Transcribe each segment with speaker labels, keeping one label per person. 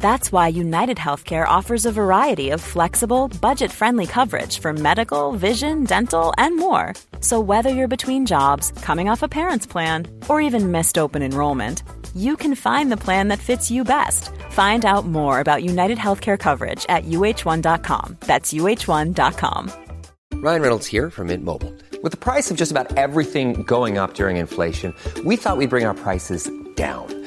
Speaker 1: That's why United Healthcare offers a variety of flexible, budget friendly coverage for medical, vision, dental, and more. So, whether you're between jobs, coming off a parent's plan, or even missed open enrollment, you can find the plan that fits you best. Find out more about United Healthcare coverage at uh1.com. That's uh1.com.
Speaker 2: Ryan Reynolds here from Mint Mobile. With the price of just about everything going up during inflation, we thought we'd bring our prices down.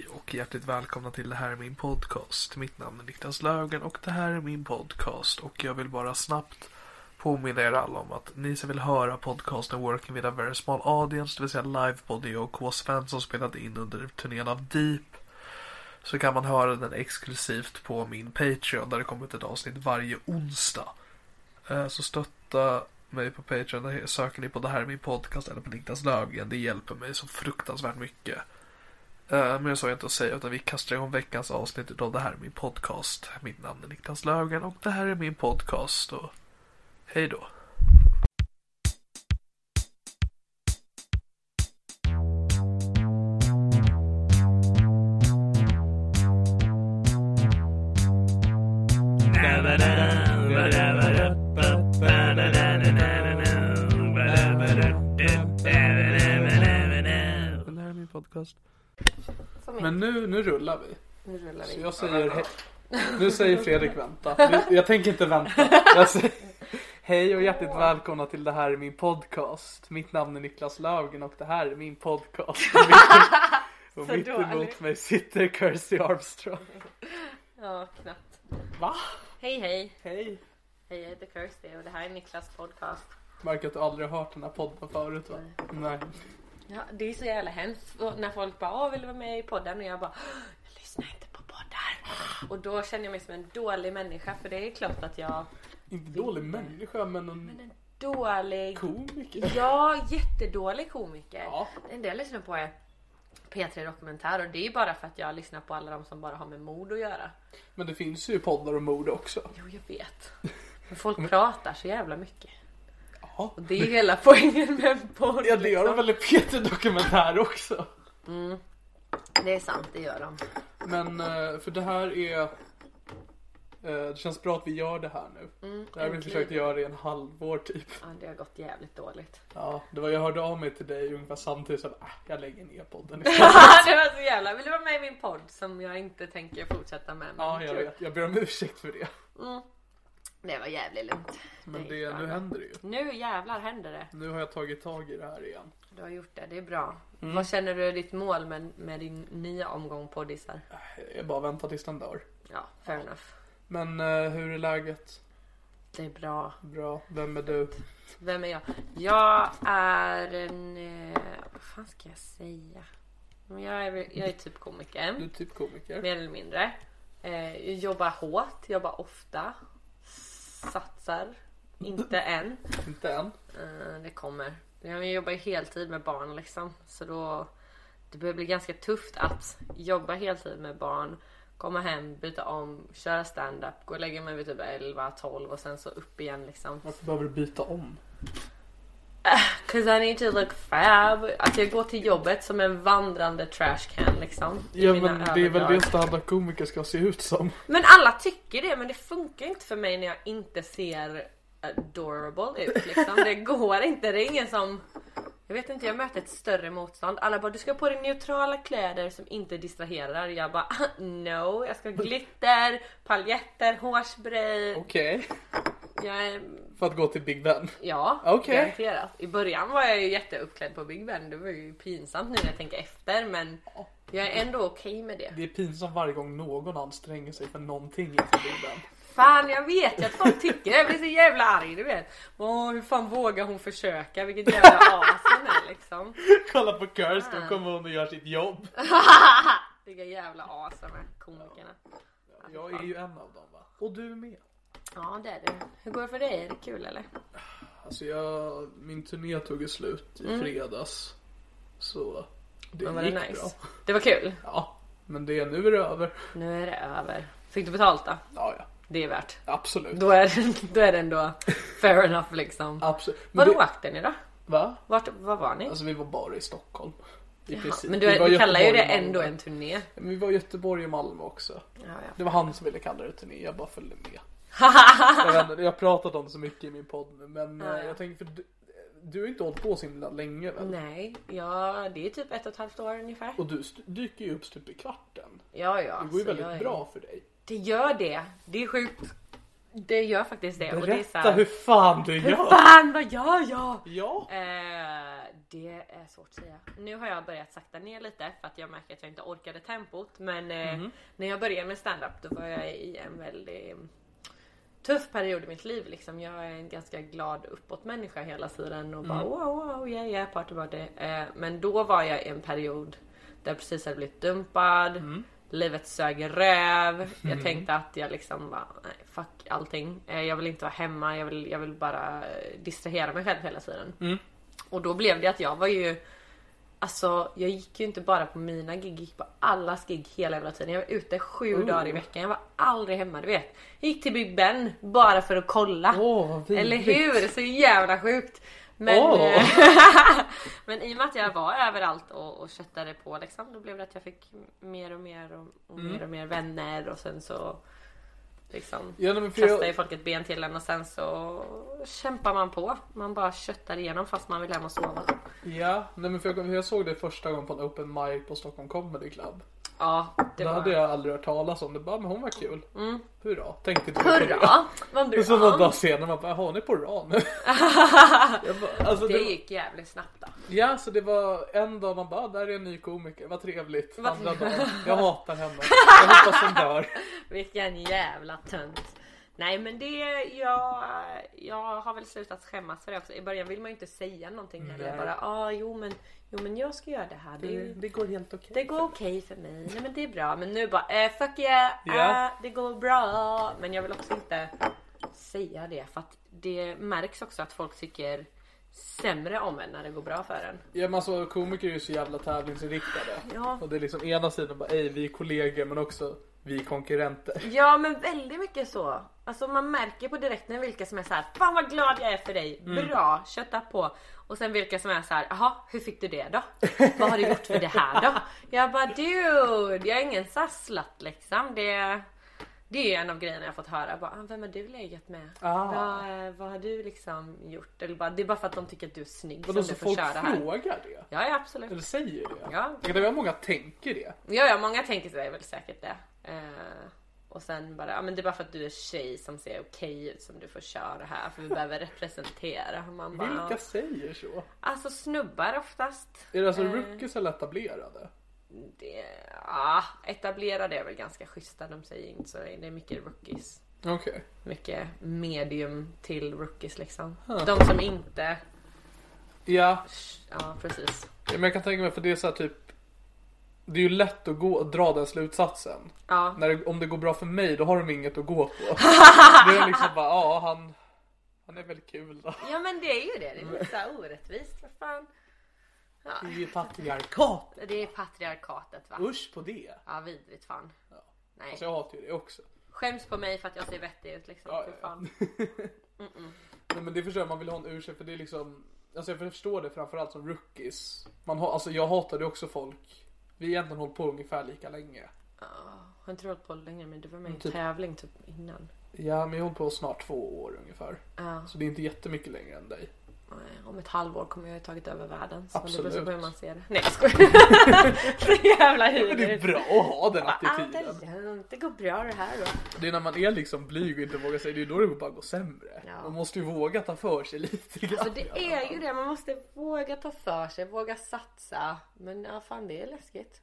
Speaker 3: och hjärtligt välkomna till Det här är min podcast. Mitt namn är Niklas Löfgren och det här är min podcast. Och jag vill bara snabbt påminna er alla om att ni som vill höra podcasten Working with a very small audience, det vill säga livepodd jag och K. Svensson spelade in under turnén av Deep, så kan man höra den exklusivt på min Patreon där det kommer ett avsnitt varje onsdag. Eh, Så stötta mig på Patreon, Där söker ni på Det här är min podcast eller på Niklas Löfgren. Det hjälper mig så fruktansvärt mycket. Eh, Men jag sa inte att säga utan vi kastar igång veckans avsnitt utav det här är min podcast. Mitt namn är Niklas Löfgren och det här är min podcast. Och hej då. Det här är min podcast. Men nu, nu rullar vi.
Speaker 4: Pues,
Speaker 3: Så jag säger hej. Nu säger Fredrik vänta. Jag, jag tänker inte vänta. Jag säger, hej och hjärtligt välkomna till det här är min podcast. Mitt namn är Niklas Löfgren och det här är min podcast. Och mitt, och mitt emot mig sitter Kirsty Armstrong.
Speaker 4: Ja, knappt.
Speaker 3: Va?
Speaker 4: Hej hej!
Speaker 3: Hej.
Speaker 4: Hej jag heter Kirsty och det här är Niklas podcast.
Speaker 3: Märker att du aldrig har hört den här podden förut va? Nej.
Speaker 4: Ja, det är så jävla hemskt och när folk bara Åh, vill du vara med i podden? Och jag bara Jag lyssnar inte på poddar. Och då känner jag mig som en dålig människa för det är klart att jag
Speaker 3: Inte dålig människa men en
Speaker 4: en dålig
Speaker 3: komiker.
Speaker 4: Ja, jättedålig komiker.
Speaker 3: Ja.
Speaker 4: En del lyssnar på er P3 Dokumentär och det är ju bara för att jag lyssnar på alla de som bara har med mord att göra.
Speaker 3: Men det finns ju poddar om mord också.
Speaker 4: Jo, jag vet. Men folk pratar så jävla mycket.
Speaker 3: Ja.
Speaker 4: Och det är ju hela poängen med en podd.
Speaker 3: Ja det gör de
Speaker 4: liksom.
Speaker 3: väl i Peter Dokumentär också.
Speaker 4: Det är sant, det gör de.
Speaker 3: Men eh, för det här är... eh, Det känns bra att vi gör det här nu. det här har vi
Speaker 4: äntligen.
Speaker 3: försökt göra i en halvår typ.
Speaker 4: Ja, det har gått jävligt dåligt.
Speaker 3: Ja, det var jag hörde av mig till dig ungefär samtidigt som ah, jag lägger ner podden.
Speaker 4: det var så jävla... Vill du vara med i min podd som jag inte tänker fortsätta med? men
Speaker 3: ja, jag
Speaker 4: kul. Mm.
Speaker 3: vet. Jag ber om ursäkt för det.
Speaker 4: Det var jävligt lugnt.
Speaker 3: Men
Speaker 4: gick
Speaker 3: det,
Speaker 4: bra
Speaker 3: nu
Speaker 4: då.
Speaker 3: händer det ju.
Speaker 4: Nu jävlar händer det.
Speaker 3: Nu har jag tagit tag i det här igen. Mm.
Speaker 4: Du har gjort det, det är bra. Vad känner du är ditt mål med, med din nya omgång poddisar?
Speaker 3: Äh, Jag bara väntar tills den dör.
Speaker 4: Ja, fair enough.
Speaker 3: Men eh, hur är läget?
Speaker 4: Det är bra.
Speaker 3: Bra. Vem är du?
Speaker 4: Vem är jag? Jag är en... Eh, vad fan ska jag säga? Men Jag är, jag är typ komiker.
Speaker 3: Du är typ komiker.
Speaker 4: Mer eller mindre. Eh, jobbar hårt, jobbar ofta. Satsar. Inte än.
Speaker 3: Inte än.
Speaker 4: Eh, det kommer. Jag jobbar ju heltid med barn liksom. Så då... Det börjar bli ganska tufft att jobba heltid med barn. Komma hem, byta om, köra stand-up, gå och lägga mig vid typ 11, 12 och sen så upp igen liksom.
Speaker 3: Varför behöver du byta om?
Speaker 4: Cause I need to look fab. Att jag går till jobbet som en vandrande trashcan liksom. i
Speaker 3: Ja
Speaker 4: mina
Speaker 3: men det är väl
Speaker 4: överdrag.
Speaker 3: det standardkomiker komiker ska se ut som.
Speaker 4: Men alla tycker det men det funkar inte för mig när jag inte ser adorable ut liksom. Det går inte. Det är ingen som... Jag vet inte, jag möter ett större motstånd. Alla bara du ska ha på dig neutrala kläder som inte distraherar. Jag bara no, jag ska ha glitter, paljetter, hårspray.
Speaker 3: Okej.
Speaker 4: Jag är,
Speaker 3: För att gå till Big Ben.
Speaker 4: ja,
Speaker 3: Okej.
Speaker 4: garanterat. I början var jag ju jätteuppklädd på Big Ben. Det var ju pinsamt nu när jag tänker efter men jag är ändå okej med det.
Speaker 3: Det är pinsamt varje gång någon anstränger sig för någonting inför Big Ben.
Speaker 4: Fan jag vet ju att folk tycker det. Jag blir så jävla arg du vet. Åh hur fan vågar hon försöka? Vilket jävla as hon är liksom.
Speaker 3: Kolla på Kirsten, kommer hon och gör sitt jobb.
Speaker 4: Vilka jävla as de är komikerna.
Speaker 3: Jag är ju en av dem va? Och du är med.
Speaker 4: Ja det är du. Hur går det för dig? Är det kul eller?
Speaker 3: Alltså jag, min turné tog ju slut i fredags. Så det
Speaker 4: Men var det
Speaker 3: gick
Speaker 4: nice?
Speaker 3: bra.
Speaker 4: Det var kul.
Speaker 3: Ja, men det, nu är det över.
Speaker 4: Nu är det över. Fick du betalt då?
Speaker 3: Ja, ja.
Speaker 4: Det är värt.
Speaker 3: Absolut.
Speaker 4: Då är det, då är det ändå fair enough liksom.
Speaker 3: Absolut. Men
Speaker 4: Vad
Speaker 3: det-
Speaker 4: åkte ni då?
Speaker 3: Va?
Speaker 4: Vart, var var ni?
Speaker 3: Alltså vi var bara i Stockholm. I
Speaker 4: Jaha,
Speaker 3: princip.
Speaker 4: men du,
Speaker 3: Vi var i
Speaker 4: du kallar ju det
Speaker 3: Göteborg och Malmö.
Speaker 4: ändå en turné.
Speaker 3: Men vi var i Göteborg och Malmö också.
Speaker 4: Ja,
Speaker 3: Det
Speaker 4: ja.
Speaker 3: var han som ville kalla det turné, jag bara följde med. jag, vet, inte, jag har pratat om det så mycket i min podd nu men eh, jag tänker för du, du har inte hållit på så himla länge väl?
Speaker 4: Nej, ja det är typ ett och ett halvt år ungefär.
Speaker 3: Och du st- dyker ju upp stup i kvarten.
Speaker 4: Ja, ja.
Speaker 3: Det går ju
Speaker 4: så
Speaker 3: väldigt
Speaker 4: Alltså, jag är-
Speaker 3: bra för dig.
Speaker 4: Det gör det. Det är sjukt. Det gör faktiskt det. och det är så
Speaker 3: Berätta
Speaker 4: här,
Speaker 3: hur fan du gör!
Speaker 4: Fan vad gör jag?
Speaker 3: Ja!
Speaker 4: Eh, det är svårt att säga. Nu har jag börjat sakta ner lite för att jag märker att jag inte orkade tempot. Men eh, när jag började med standup då var jag i en väldigt tuff period i mitt liv. Liksom. Jag är en ganska glad uppåt människa hela tiden och bara wow wow yeah yeah party party. Eh, men då var jag i en period där jag precis hade blivit dumpad. Livet sög röv. Jag tänkte att jag liksom bara, nej fuck allting. Eh, Jag vill inte vara hemma. Jag vill, jag vill bara eh, distrahera mig själv hela tiden. Och då blev det att jag var ju Alltså jag gick ju inte bara på mina gig, jag gick på allas gig hela jävla tiden. Jag var ute sju dagar i veckan, jag var aldrig hemma du vet. Jag gick till Big Ben bara för att kolla.
Speaker 3: Åh, vad vidrigt.
Speaker 4: Eller hur? Så jävla sjukt. Men,
Speaker 3: Åh.
Speaker 4: eh, men i och med att jag var överallt och, och köttade på liksom, då blev det att jag fick mer och mer och, och
Speaker 3: Mm.
Speaker 4: mer och mer vänner och sen så liksom
Speaker 3: Ja, nej, men för
Speaker 4: kastar
Speaker 3: jag,
Speaker 4: ju folk ett ben till en och sen så kämpar man på. Man bara köttar igenom fast man vill hem och sova.
Speaker 3: ja, nej, men för jag, jag såg det första gången på en open mic på Stockholm Comedy Club.
Speaker 4: Ja, det
Speaker 3: Det hade
Speaker 4: var... Mm.
Speaker 3: jag aldrig hört talas om. Det bara, men hon var kul. Hurra, tänkte inte jag på det.
Speaker 4: Hurra! Vad
Speaker 3: Och så någon
Speaker 4: bra!
Speaker 3: dag senare man bara, har ni på ran? jag bara, alltså,
Speaker 4: Det
Speaker 3: det var,
Speaker 4: gick jävligt snabbt då.
Speaker 3: ja, så det var en dag man bara, ah, där är en ny komiker, vad trevligt.
Speaker 4: Vad
Speaker 3: Andra
Speaker 4: trevligt.
Speaker 3: dagen, jag hatar henne. Jag hoppas hon dör.
Speaker 4: Vilken jävla tönt. Nej men det, jag, jag har väl slutat skämmas för det också. I början vill man ju inte säga någonting heller. Bara, ah, jo men, jo men jag ska göra det här. Det, är-
Speaker 3: Mm, går helt okej.
Speaker 4: det går okej för mig. Nej men det är bra. Men nu bara, eh, fuck yeah,
Speaker 3: Ja.
Speaker 4: eh, det går bra. Men jag vill också inte säga det för att det märks också att folk tycker sämre om en när det går bra för en.
Speaker 3: Ja, men alltså, komiker är ju så jävla tävlingsinriktade.
Speaker 4: Ja.
Speaker 3: Och det är liksom ena sidan bara, ej vi är kollegor men också vi är konkurrenter.
Speaker 4: Ja men väldigt mycket så. Alltså man märker på direkten vilka som är så här. Fan vad glad jag är för dig.
Speaker 3: Mm.
Speaker 4: Bra, kötta på. Och sen vilka som är så här. Jaha, hur fick du det då? Vad har du gjort för det här då? Jag bara dude, jag är ingen sasslat liksom. Det, det är en av grejerna jag har fått höra. Bara, "Ah, Vem har du legat med?
Speaker 3: Ah.
Speaker 4: Vad, eh, vad har du liksom gjort? Eller bara, det är bara för att de tycker att du är snygg
Speaker 3: Vadå,
Speaker 4: som
Speaker 3: så
Speaker 4: du får
Speaker 3: folk
Speaker 4: köra här.
Speaker 3: frågar det?
Speaker 4: Ja, ja absolut.
Speaker 3: Eller säger det?
Speaker 4: Ja.
Speaker 3: Jag vet att många tänker det.
Speaker 4: Ja, ja, många tänker sig väl säkert det. Eh, och sen bara, ja men det är bara för att du är tjej som ser okej ut som du får köra här för vi behöver representera. Och Man bara,
Speaker 3: Vilka säger så?
Speaker 4: Alltså snubbar oftast.
Speaker 3: Är det alltså rookies eller etablerade?
Speaker 4: Det, ja, etablerade är väl ganska schyssta, de säger inte så. Det är mycket rookies.
Speaker 3: Okej.
Speaker 4: Mycket medium till rookies liksom. De som inte,
Speaker 3: Ja,
Speaker 4: ja precis.
Speaker 3: Ja, Men jag kan tänka mig för det är så här typ Det är ju lätt att gå och dra den slutsatsen.
Speaker 4: Ja.
Speaker 3: När det, om det går bra för mig då har de inget att gå på. det är liksom bara ja han han är väl kul då.
Speaker 4: Ja men det är ju det, det är lite så här orättvist. Vad fan.
Speaker 3: Det är ju patriarkat.
Speaker 4: Det är patriarkatet va?
Speaker 3: Usch på det.
Speaker 4: Ja vidrigt fan. Nej.
Speaker 3: Alltså jag hatar ju det också.
Speaker 4: Skäms på mig för att jag ser vettig ut liksom.
Speaker 3: Ja,
Speaker 4: Fy
Speaker 3: ja.
Speaker 4: fan.
Speaker 3: Nej men det förstår jag, man vill ha en ursäkt för det är liksom Alltså jag förstår det framförallt som rookies. Man har, alltså jag hatade också folk. Vi har egentligen hållit på ungefär lika länge.
Speaker 4: Jag har inte hållit på länge men du var med i en
Speaker 3: Typ.
Speaker 4: tävling typ innan.
Speaker 3: Ja, men jag har hållit på snart två år ungefär.
Speaker 4: Ja.
Speaker 3: Så det är inte jättemycket längre än dig.
Speaker 4: Nej, Om ett halvår kommer jag ha tagit över världen. Så det beror
Speaker 3: Absolut.
Speaker 4: på hur man ser det. Nej jag skojar. Så jävla
Speaker 3: Men det är
Speaker 4: hybris.
Speaker 3: bra att ha den
Speaker 4: Ah,
Speaker 3: attityden.
Speaker 4: det är lugnt. Det går bra det här då.
Speaker 3: Det är när man är liksom blyg och inte vågar säga det, är då det bara går sämre.
Speaker 4: Ja.
Speaker 3: Man måste ju våga ta för sig lite grann.
Speaker 4: Alltså det är ju det. Man måste våga ta för sig, våga satsa. Men ja, fan det är läskigt.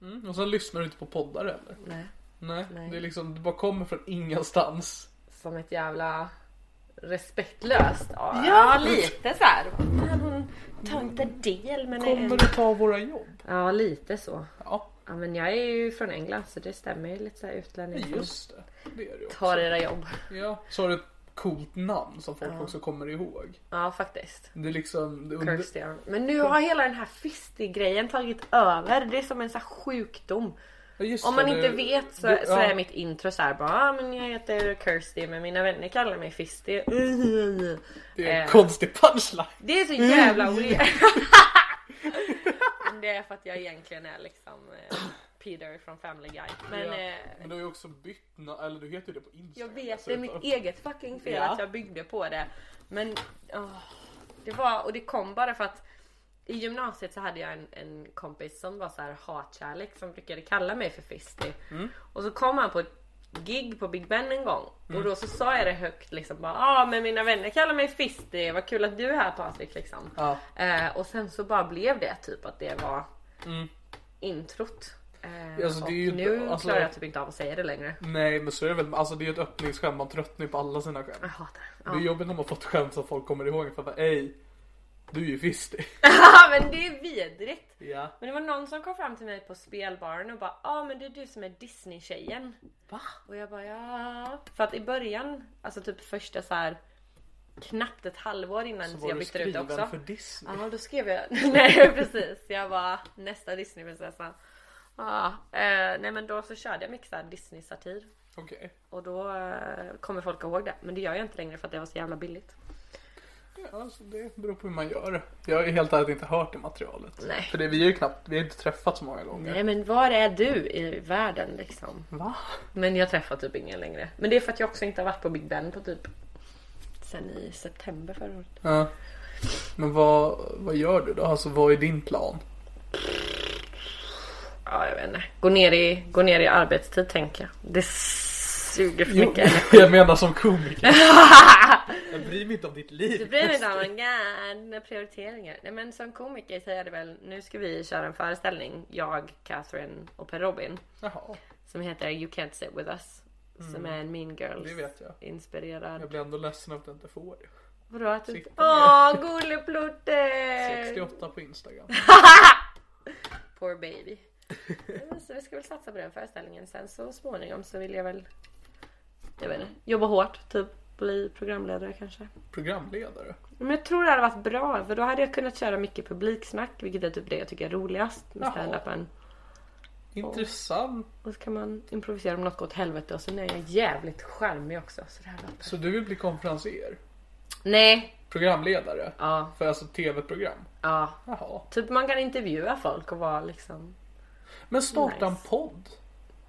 Speaker 3: Mm, och sen lyssnar du inte på poddar eller?
Speaker 4: Nej.
Speaker 3: Nej,
Speaker 4: Nej.
Speaker 3: det är liksom, det bara kommer från ingenstans.
Speaker 4: Som ett jävla respektlöst. Ja, ja lite så här. Fan, hon tar inte del men är
Speaker 3: Kommer du ta våra jobb?
Speaker 4: Ja lite så.
Speaker 3: Ja,
Speaker 4: Ja men jag är ju från England så det stämmer ju lite så här utlänning. som
Speaker 3: just det. Det är det ju.
Speaker 4: Tar era jobb.
Speaker 3: Ja, så har du ett coolt namn som folk också kommer ihåg.
Speaker 4: Ja faktiskt.
Speaker 3: Det är liksom... Det under...
Speaker 4: Kirstian. Men nu har hela den här fistig-grejen tagit över. Det är som en så här sjukdom.
Speaker 3: Ja, just
Speaker 4: Om man
Speaker 3: det,
Speaker 4: inte
Speaker 3: det-
Speaker 4: vet så,
Speaker 3: det-
Speaker 4: så
Speaker 3: ja.
Speaker 4: är mitt intro så här bara ah, men jag heter Kirsty men mina vänner kallar mig Fisty.
Speaker 3: Det är en
Speaker 4: Eh.
Speaker 3: konstig punchline.
Speaker 4: Det är så jävla weird. Men det är för att jag egentligen är liksom eh, Peter från Family Guy. Men
Speaker 3: ja.
Speaker 4: eh,
Speaker 3: men du har ju också bytt na- eller du heter ju det på
Speaker 4: jag
Speaker 3: Instagram.
Speaker 4: vet det är mitt
Speaker 3: dessutom.
Speaker 4: eget fucking fel
Speaker 3: Ja.
Speaker 4: att jag byggde på det. Men åh, det var och det kom bara för att i gymnasiet så hade jag en, en kompis som var så här hatkärlek som brukade kalla mig för Fisty.
Speaker 3: Mm.
Speaker 4: Och så kom han på ett gig på Big Ben en gång
Speaker 3: Mm.
Speaker 4: och då så sa jag det högt liksom bara ja ah, men mina vänner kallar mig Fisty, vad kul att du är här Patrik liksom.
Speaker 3: Ja.
Speaker 4: Eh, och sen så bara blev det typ att det var introt. Eh,
Speaker 3: Mm. Alltså, det är
Speaker 4: och
Speaker 3: ju-
Speaker 4: nu
Speaker 3: alltså-
Speaker 4: klarar jag typ inte av att säga det längre.
Speaker 3: Nej men så är det väl, alltså det är ju ett öppningsskämt, man tröttnar ju på alla sina skämt.
Speaker 4: Jag hatar det.
Speaker 3: Det är jobbigt när man fått skämt som folk kommer ihåg för att ej, du är ju fistig.
Speaker 4: Ja men det är vidrigt.
Speaker 3: Ja.
Speaker 4: Men det var någon som kom fram till mig på spelbaren och bara ja ah, men det är du som är Disney-tjejen. Va? Och jag bara ja. För att i början, alltså typ första så här knappt ett halvår innan
Speaker 3: Så
Speaker 4: så
Speaker 3: var
Speaker 4: jag
Speaker 3: du
Speaker 4: bytte ut också.
Speaker 3: skriven för Disney.
Speaker 4: Ja då skrev jag, nej precis. Jag var nästa Disneyprinsessa. Ja, eh, nej men då så körde jag mycket så här Disney-satir.
Speaker 3: Okej.
Speaker 4: Och då eh, kommer folk ihåg det. Men det gör jag inte längre för att det var så jävla billigt. Ah.
Speaker 3: Ja, alltså det beror på hur man gör det. Jag har ju helt ärligt inte hört det materialet.
Speaker 4: Nej.
Speaker 3: För det, vi har ju knappt, vi har inte träffats så många gånger.
Speaker 4: Nej men var är du i världen liksom?
Speaker 3: Va?
Speaker 4: Men jag träffar typ ingen längre. Men det är för att jag också inte har varit på Big Ben på typ sen i september förra året.
Speaker 3: Ja. Men vad, vad gör du då? Alltså vad är din plan?
Speaker 4: Ja jag vet inte. Gå ner i, gå ner i arbetstid tänker jag. Det suger för
Speaker 3: Jo,
Speaker 4: mycket.
Speaker 3: jag menar som komiker. jag bryr mig inte om ditt
Speaker 4: Du
Speaker 3: liv.
Speaker 4: bryr dig inte om mina prioriteringar. Nej men som komiker säger jag det väl. Nu ska vi köra en föreställning. Jag, Catherine och Per Robin.
Speaker 3: Jaha,
Speaker 4: Som heter You Can't Sit With Us. Som är en Mean Girls
Speaker 3: Mm. Det vet jag.
Speaker 4: inspirerad.
Speaker 3: jag blir ändå ledsen att jag inte får det.
Speaker 4: Vadå att du inte...
Speaker 3: Sikta
Speaker 4: Åh gulleplutte!
Speaker 3: 68 på Instagram.
Speaker 4: Poor baby. Nej, men så vi ska väl satsa på den föreställningen sen så småningom så vill jag väl jag vet inte, jobba hårt. Typ bli programledare kanske.
Speaker 3: Programledare.
Speaker 4: Men jag tror det hade varit bra för då hade jag kunnat köra mycket publiksnack vilket är typ det jag tycker är roligast med
Speaker 3: Jaha.
Speaker 4: standupen.
Speaker 3: Intressant.
Speaker 4: Och så kan man improvisera om något går åt helvete och sen är jag jävligt charmig också. Så det här var...
Speaker 3: Så du vill bli konferenser?
Speaker 4: Nej,
Speaker 3: Programledare?
Speaker 4: Ja.
Speaker 3: För alltså tv-program?
Speaker 4: ja.
Speaker 3: Jaha.
Speaker 4: Typ man kan intervjua folk och vara liksom
Speaker 3: Men starta
Speaker 4: Nice.
Speaker 3: en podd?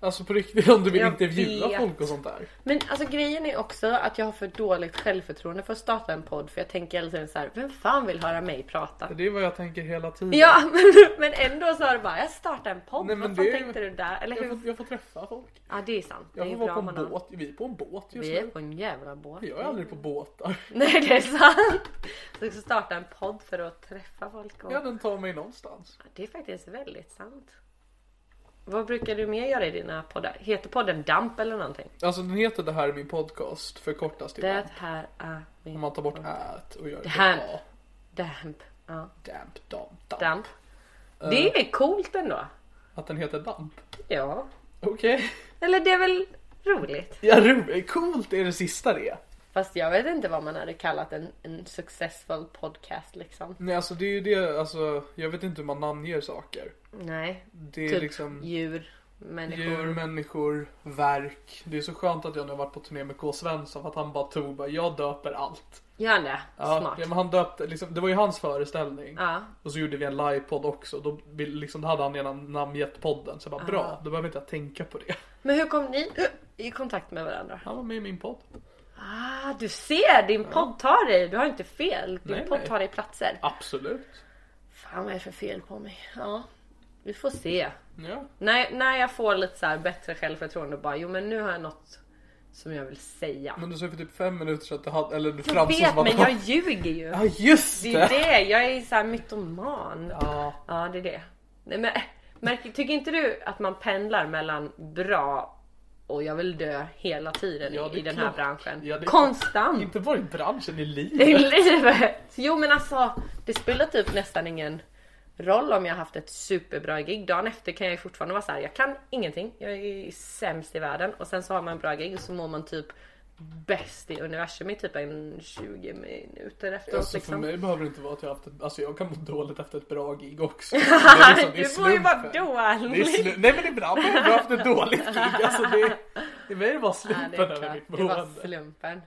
Speaker 3: Alltså på riktigt om du vill
Speaker 4: Jag
Speaker 3: intervjua
Speaker 4: vet.
Speaker 3: folk och sånt där?
Speaker 4: Men alltså grejen är också att jag har för dåligt självförtroende för att starta en podd för jag tänker hela tiden så här, vem fan vill höra mig prata?
Speaker 3: Det är vad jag tänker hela tiden.
Speaker 4: Ja men, men ändå så har du bara, jag startar en podd,
Speaker 3: Nej, men
Speaker 4: vad fan
Speaker 3: det är-
Speaker 4: tänkte du där? Eller
Speaker 3: Jag
Speaker 4: hur?
Speaker 3: får, jag får träffa folk.
Speaker 4: Ja det är sant, det
Speaker 3: Jag
Speaker 4: är
Speaker 3: får vara
Speaker 4: bra
Speaker 3: på
Speaker 4: man
Speaker 3: en båt. Vi är på en båt just
Speaker 4: Vi är
Speaker 3: nu.
Speaker 4: på en jävla båt.
Speaker 3: Jag är aldrig på båtar.
Speaker 4: Nej det är sant! Så jag ska starta en podd för att träffa folk och...
Speaker 3: Ja, den tar mig någonstans.
Speaker 4: Det är faktiskt väldigt sant. Vad brukar du mer göra i dina poddar? Heter podden Damp eller någonting?
Speaker 3: Alltså den heter Det här är min podcast, förkortas till
Speaker 4: Det
Speaker 3: damp.
Speaker 4: här är min...
Speaker 3: Om man tar bort ät och gör det
Speaker 4: här-
Speaker 3: till A.
Speaker 4: Damp. Ja.
Speaker 3: Damp, Eh. damp, damp.
Speaker 4: Damp. Det är coolt ändå.
Speaker 3: Att den heter damp.
Speaker 4: Ja.
Speaker 3: Okej.
Speaker 4: Eller det är väl roligt.
Speaker 3: Ja, roligt. Coolt är det sista det.
Speaker 4: Fast jag vet inte vad man hade kallat en, en successful podcast liksom.
Speaker 3: Nej, alltså det är ju det, alltså jag vet inte hur man namnger saker.
Speaker 4: Nej.
Speaker 3: Det är
Speaker 4: Typ
Speaker 3: liksom
Speaker 4: djur, människor.
Speaker 3: djur, människor, verk. Det är så skönt att jag nu har varit på turné med K. Svensson för att han bara tog bara, jag döper allt.
Speaker 4: Gör han det?
Speaker 3: Ja,
Speaker 4: Smart.
Speaker 3: men han döpte, liksom, det var ju hans föreställning.
Speaker 4: Ja.
Speaker 3: Och så gjorde vi en livepodd också. Då, vill- liksom, då hade han redan namngett podden. Så jag bara bra, då behöver inte jag tänka på det.
Speaker 4: Men hur kom ni i kontakt med varandra?
Speaker 3: Han var med i min podd.
Speaker 4: Ah, du ser! Din podd tar dig. Du har inte fel. Din
Speaker 3: Nej,
Speaker 4: podd
Speaker 3: nej.
Speaker 4: tar dig platser.
Speaker 3: Absolut.
Speaker 4: Fan vad är det för fel på mig? Ja. Vi får se.
Speaker 3: Ja.
Speaker 4: När, när jag får lite så här bättre självförtroende bara jo men nu har jag något som jag vill säga.
Speaker 3: Men du sa ju för typ fem minuter så att du hade, eller du
Speaker 4: Jag
Speaker 3: framstod
Speaker 4: vet
Speaker 3: att
Speaker 4: men
Speaker 3: du-
Speaker 4: jag ljuger ju.
Speaker 3: Ja just
Speaker 4: Det är
Speaker 3: det!
Speaker 4: det, jag är så här mytoman.
Speaker 3: Ja.
Speaker 4: Ja, det är det. Nej, men, äh, märker, tycker inte du att man pendlar mellan bra och jag vill dö hela tiden
Speaker 3: Ja, det
Speaker 4: i
Speaker 3: är
Speaker 4: den här
Speaker 3: klart.
Speaker 4: branschen?
Speaker 3: Ja, det är-
Speaker 4: Konstant!
Speaker 3: Inte bara i branschen, i
Speaker 4: I
Speaker 3: livet.
Speaker 4: livet! Jo men alltså, det spelar typ nästan ingen roll om jag har haft ett superbra gig. Dagen efter kan jag ju fortfarande vara så här, jag kan ingenting. Jag är sämst i världen. Och sen så har man en bra gig och så mår man typ bäst i universum i typ en 20 minuter efteråt
Speaker 3: Alltså, för
Speaker 4: liksom.
Speaker 3: mig behöver det inte vara att jag haft ett, alltså jag kan må dåligt efter ett bra gig också. Men liksom, det är
Speaker 4: Du får ju vara
Speaker 3: slumpen. Det är slu-
Speaker 4: dålig!
Speaker 3: Nej men ibland har jag haft ett dåligt gig. Alltså det, det är mer bara
Speaker 4: Ja,
Speaker 3: slumpen
Speaker 4: det är
Speaker 3: över
Speaker 4: klart.
Speaker 3: mitt
Speaker 4: Det var
Speaker 3: boende.
Speaker 4: slumpen.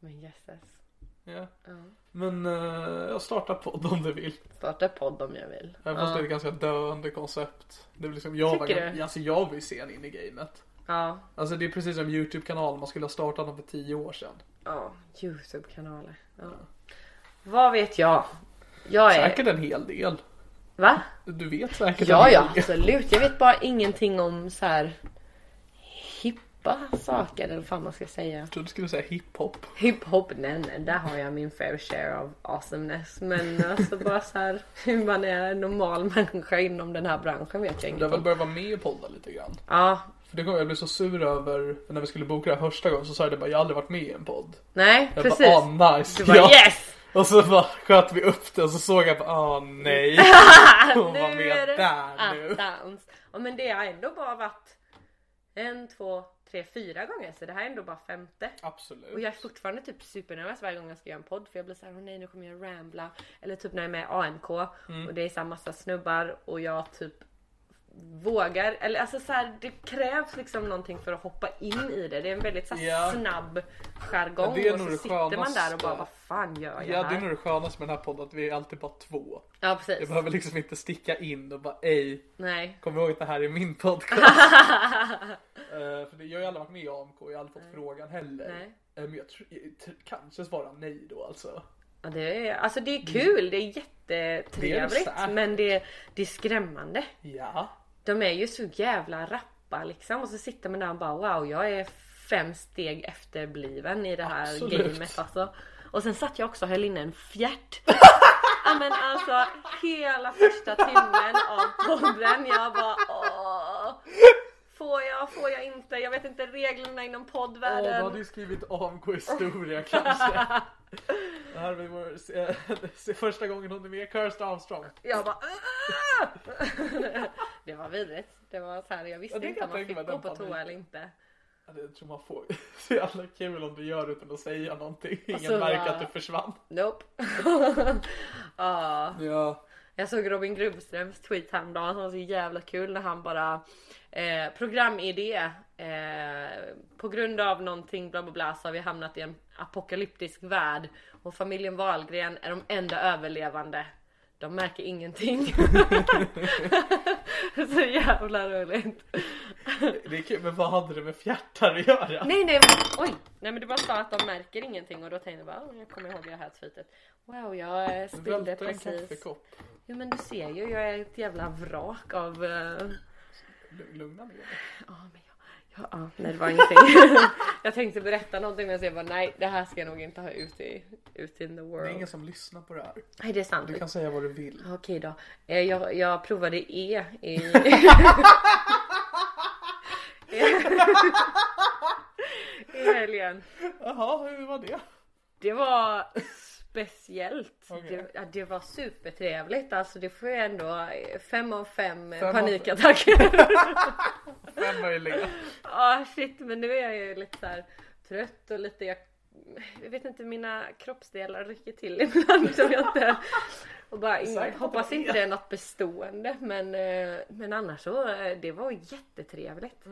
Speaker 4: Men jösses.
Speaker 3: Ja. Men eh, jag startar podd om du vill.
Speaker 4: Starta podd om jag vill.
Speaker 3: Även fast det är ett ganska döende koncept. Det är väl liksom jag,
Speaker 4: Tycker
Speaker 3: var,
Speaker 4: du?
Speaker 3: alltså jag var ju sen in i gamet.
Speaker 4: Ja,
Speaker 3: Alltså det är precis som Youtube-kanalen, man skulle ha startat den för tio år sedan.
Speaker 4: ja. Youtube-kanaler. Ja. Vad vet jag? Jag är...
Speaker 3: Säkert en hel del.
Speaker 4: Va?
Speaker 3: Du vet säkert
Speaker 4: Ja,
Speaker 3: Typ en
Speaker 4: ja
Speaker 3: hel del.
Speaker 4: absolut. Jag vet bara ingenting om så här hippa saker eller vad fan man ska säga.
Speaker 3: Jag trodde du skulle säga hiphop.
Speaker 4: Hiphop, nej nej, där har jag min fair share of awesomeness. Men alltså bara så här hur man är en normal människa inom den här branschen vet jag
Speaker 3: Du har
Speaker 4: inget
Speaker 3: väl
Speaker 4: om.
Speaker 3: börjat vara med i podden lite grann?
Speaker 4: Ja,
Speaker 3: För det kommer jag bli så sur över när vi skulle boka det här första gången så sa jag det bara jag har aldrig varit med i en podd.
Speaker 4: nej
Speaker 3: Jag
Speaker 4: precis.
Speaker 3: bara ah nice.
Speaker 4: Du bara yes!
Speaker 3: Och så bara sköt vi upp det och så såg jag bara ah nej. Hon var med där nu.
Speaker 4: attans. Ja men det har ändå bara varit en, två, tre, fyra gånger så det här är ändå bara femte.
Speaker 3: Absolut.
Speaker 4: Och jag är fortfarande typ supernervös varje gång jag ska göra en podd för jag blir såhär, åh nej nu kommer jag rambla. Eller typ när jag är med i ANK
Speaker 3: Mm.
Speaker 4: och det är såhär massa snubbar och jag typ vågar, eller alltså såhär det krävs liksom någonting för att hoppa in i det. Det är en väldigt såhär
Speaker 3: Ja.
Speaker 4: snabb jargong
Speaker 3: Ja, det är
Speaker 4: och så
Speaker 3: nog det
Speaker 4: sitter man
Speaker 3: skönaste.
Speaker 4: där och bara, vad fan gör jag
Speaker 3: Ja det är
Speaker 4: här?
Speaker 3: nog det skönaste med den här podden att vi är alltid bara två.
Speaker 4: Ja
Speaker 3: Jag
Speaker 4: precis.
Speaker 3: behöver liksom inte sticka in och bara ej,
Speaker 4: Nej.
Speaker 3: kom ihåg att det här är min podcast. Eh, för det, jag har ju aldrig varit med i AMK, jag har aldrig fått frågan heller.
Speaker 4: Nej.
Speaker 3: Eh, men jag tror, jag tr- kanske svara nej då alltså.
Speaker 4: Ja, det är, alltså det
Speaker 3: Mm.
Speaker 4: är kul, det är jättetrevligt
Speaker 3: säkert.
Speaker 4: men det, det är skrämmande.
Speaker 3: Ja.
Speaker 4: De är ju så jävla rappa liksom och så sitter man där och bara wow jag är fem steg efterbliven i det här
Speaker 3: Absolut.
Speaker 4: gamet alltså. Och sen satt jag också och höll inne en fjärt. ja men alltså hela första timmen av podden jag bara åh. Får jag, får jag inte? Jag vet inte reglerna inom
Speaker 3: Åh, du
Speaker 4: poddvärlden.
Speaker 3: hade ju skrivit AMK historia kanske. det här blir vår, se, se, första gången hon är med, Kirsten Armstrong.
Speaker 4: Jag bara "Ah!" Det var vidrigt. Det var så här, jag visste
Speaker 3: Ja, det
Speaker 4: inte
Speaker 3: kan jag
Speaker 4: om man
Speaker 3: tänka
Speaker 4: fick
Speaker 3: mig,
Speaker 4: gå
Speaker 3: den
Speaker 4: på toa
Speaker 3: paniken.
Speaker 4: eller inte.
Speaker 3: Ja, det- Jag tror man får så jävla kul om du gör utan att säga någonting. Ingen
Speaker 4: så
Speaker 3: märker
Speaker 4: bara-
Speaker 3: att du försvann.
Speaker 4: Nope. ja.
Speaker 3: Ja.
Speaker 4: Jag såg Robin Grubströms tweet häromdagen som var så jävla kul när han bara eh, programidé. Eh, på grund av någonting bla bla bla så har vi hamnat i en apokalyptisk värld och familjen Wahlgren är de enda överlevande. De märker ingenting. så jävla roligt.
Speaker 3: Det är kul, men vad hade det med fjärtar att göra?
Speaker 4: Nej nej oj! Nej men du bara sa att de märker ingenting och då tänkte jag bara "Åh, jag kommer ihåg det här tweetet. Wow jag eh,
Speaker 3: Du
Speaker 4: spillde
Speaker 3: välter en
Speaker 4: precis.
Speaker 3: kaffekopp.
Speaker 4: Jo men du ser ju jag är ett jävla vrak av... eh,
Speaker 3: Lugna ner dig.
Speaker 4: Ja men jag... Ja, ja nej det var ingenting. jag tänkte berätta någonting men så jag bara nej det här ska jag nog inte ha ut i ut in the
Speaker 3: Det
Speaker 4: world.
Speaker 3: är ingen som lyssnar på det här.
Speaker 4: Nej det är sant.
Speaker 3: Du kan säga vad du vill.
Speaker 4: Okej då. Eh, Jag, jag provade E i... I helgen.
Speaker 3: Jaha, hur var det?
Speaker 4: Det var speciellt.
Speaker 3: Okej.
Speaker 4: Det, ja, det var supertrevligt. Alltså det får jag ändå eh, fem av fem, eh,
Speaker 3: Fem av
Speaker 4: panikattacker.
Speaker 3: Vem var Elena?
Speaker 4: Ja shit men nu är jag ju lite så här trött och lite jag, jag vet inte mina kroppsdelar rycker till ibland som jag inte och bara in,
Speaker 3: Säkert
Speaker 4: hoppas
Speaker 3: att det
Speaker 4: inte det är något
Speaker 3: Mm.
Speaker 4: bestående men, eh, men annars så eh, det var jättetrevligt.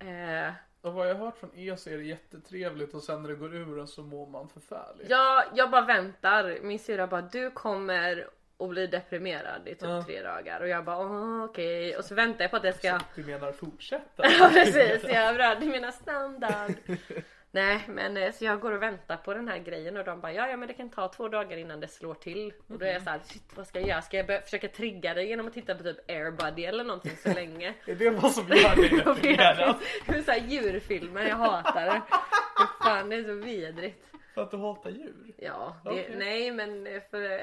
Speaker 4: Eh,
Speaker 3: Och vad jag har hört från er så är det jättetrevligt och sen när det går ur en så mår man förfärligt.
Speaker 4: Jag, jag bara väntar. Min syrra bara du kommer och bli deprimerad i typ
Speaker 3: Ja.
Speaker 4: tre dagar och jag bara "Åh, okej och så väntar jag på att det ska
Speaker 3: Du menar fortsätta?
Speaker 4: Ja precis, jag rörde mina standard. Nej men eh, så jag går och väntar på den här grejen och de bara ja, ja men det kan ta två dagar innan det slår till. Och då är jag så här,
Speaker 3: Mhm.
Speaker 4: shit vad ska jag göra? Ska jag börja försöka trigga det genom att titta på typ Airbuddy eller någonting så länge?
Speaker 3: Är det vad som gör dig
Speaker 4: Jag
Speaker 3: deprimerad?
Speaker 4: vet. Det är så här djurfilmer, jag hatar det. Fy Fan det är så vidrigt.
Speaker 3: För att du hatar djur?
Speaker 4: Ja, det,
Speaker 3: Okej.
Speaker 4: nej men eh, för eh,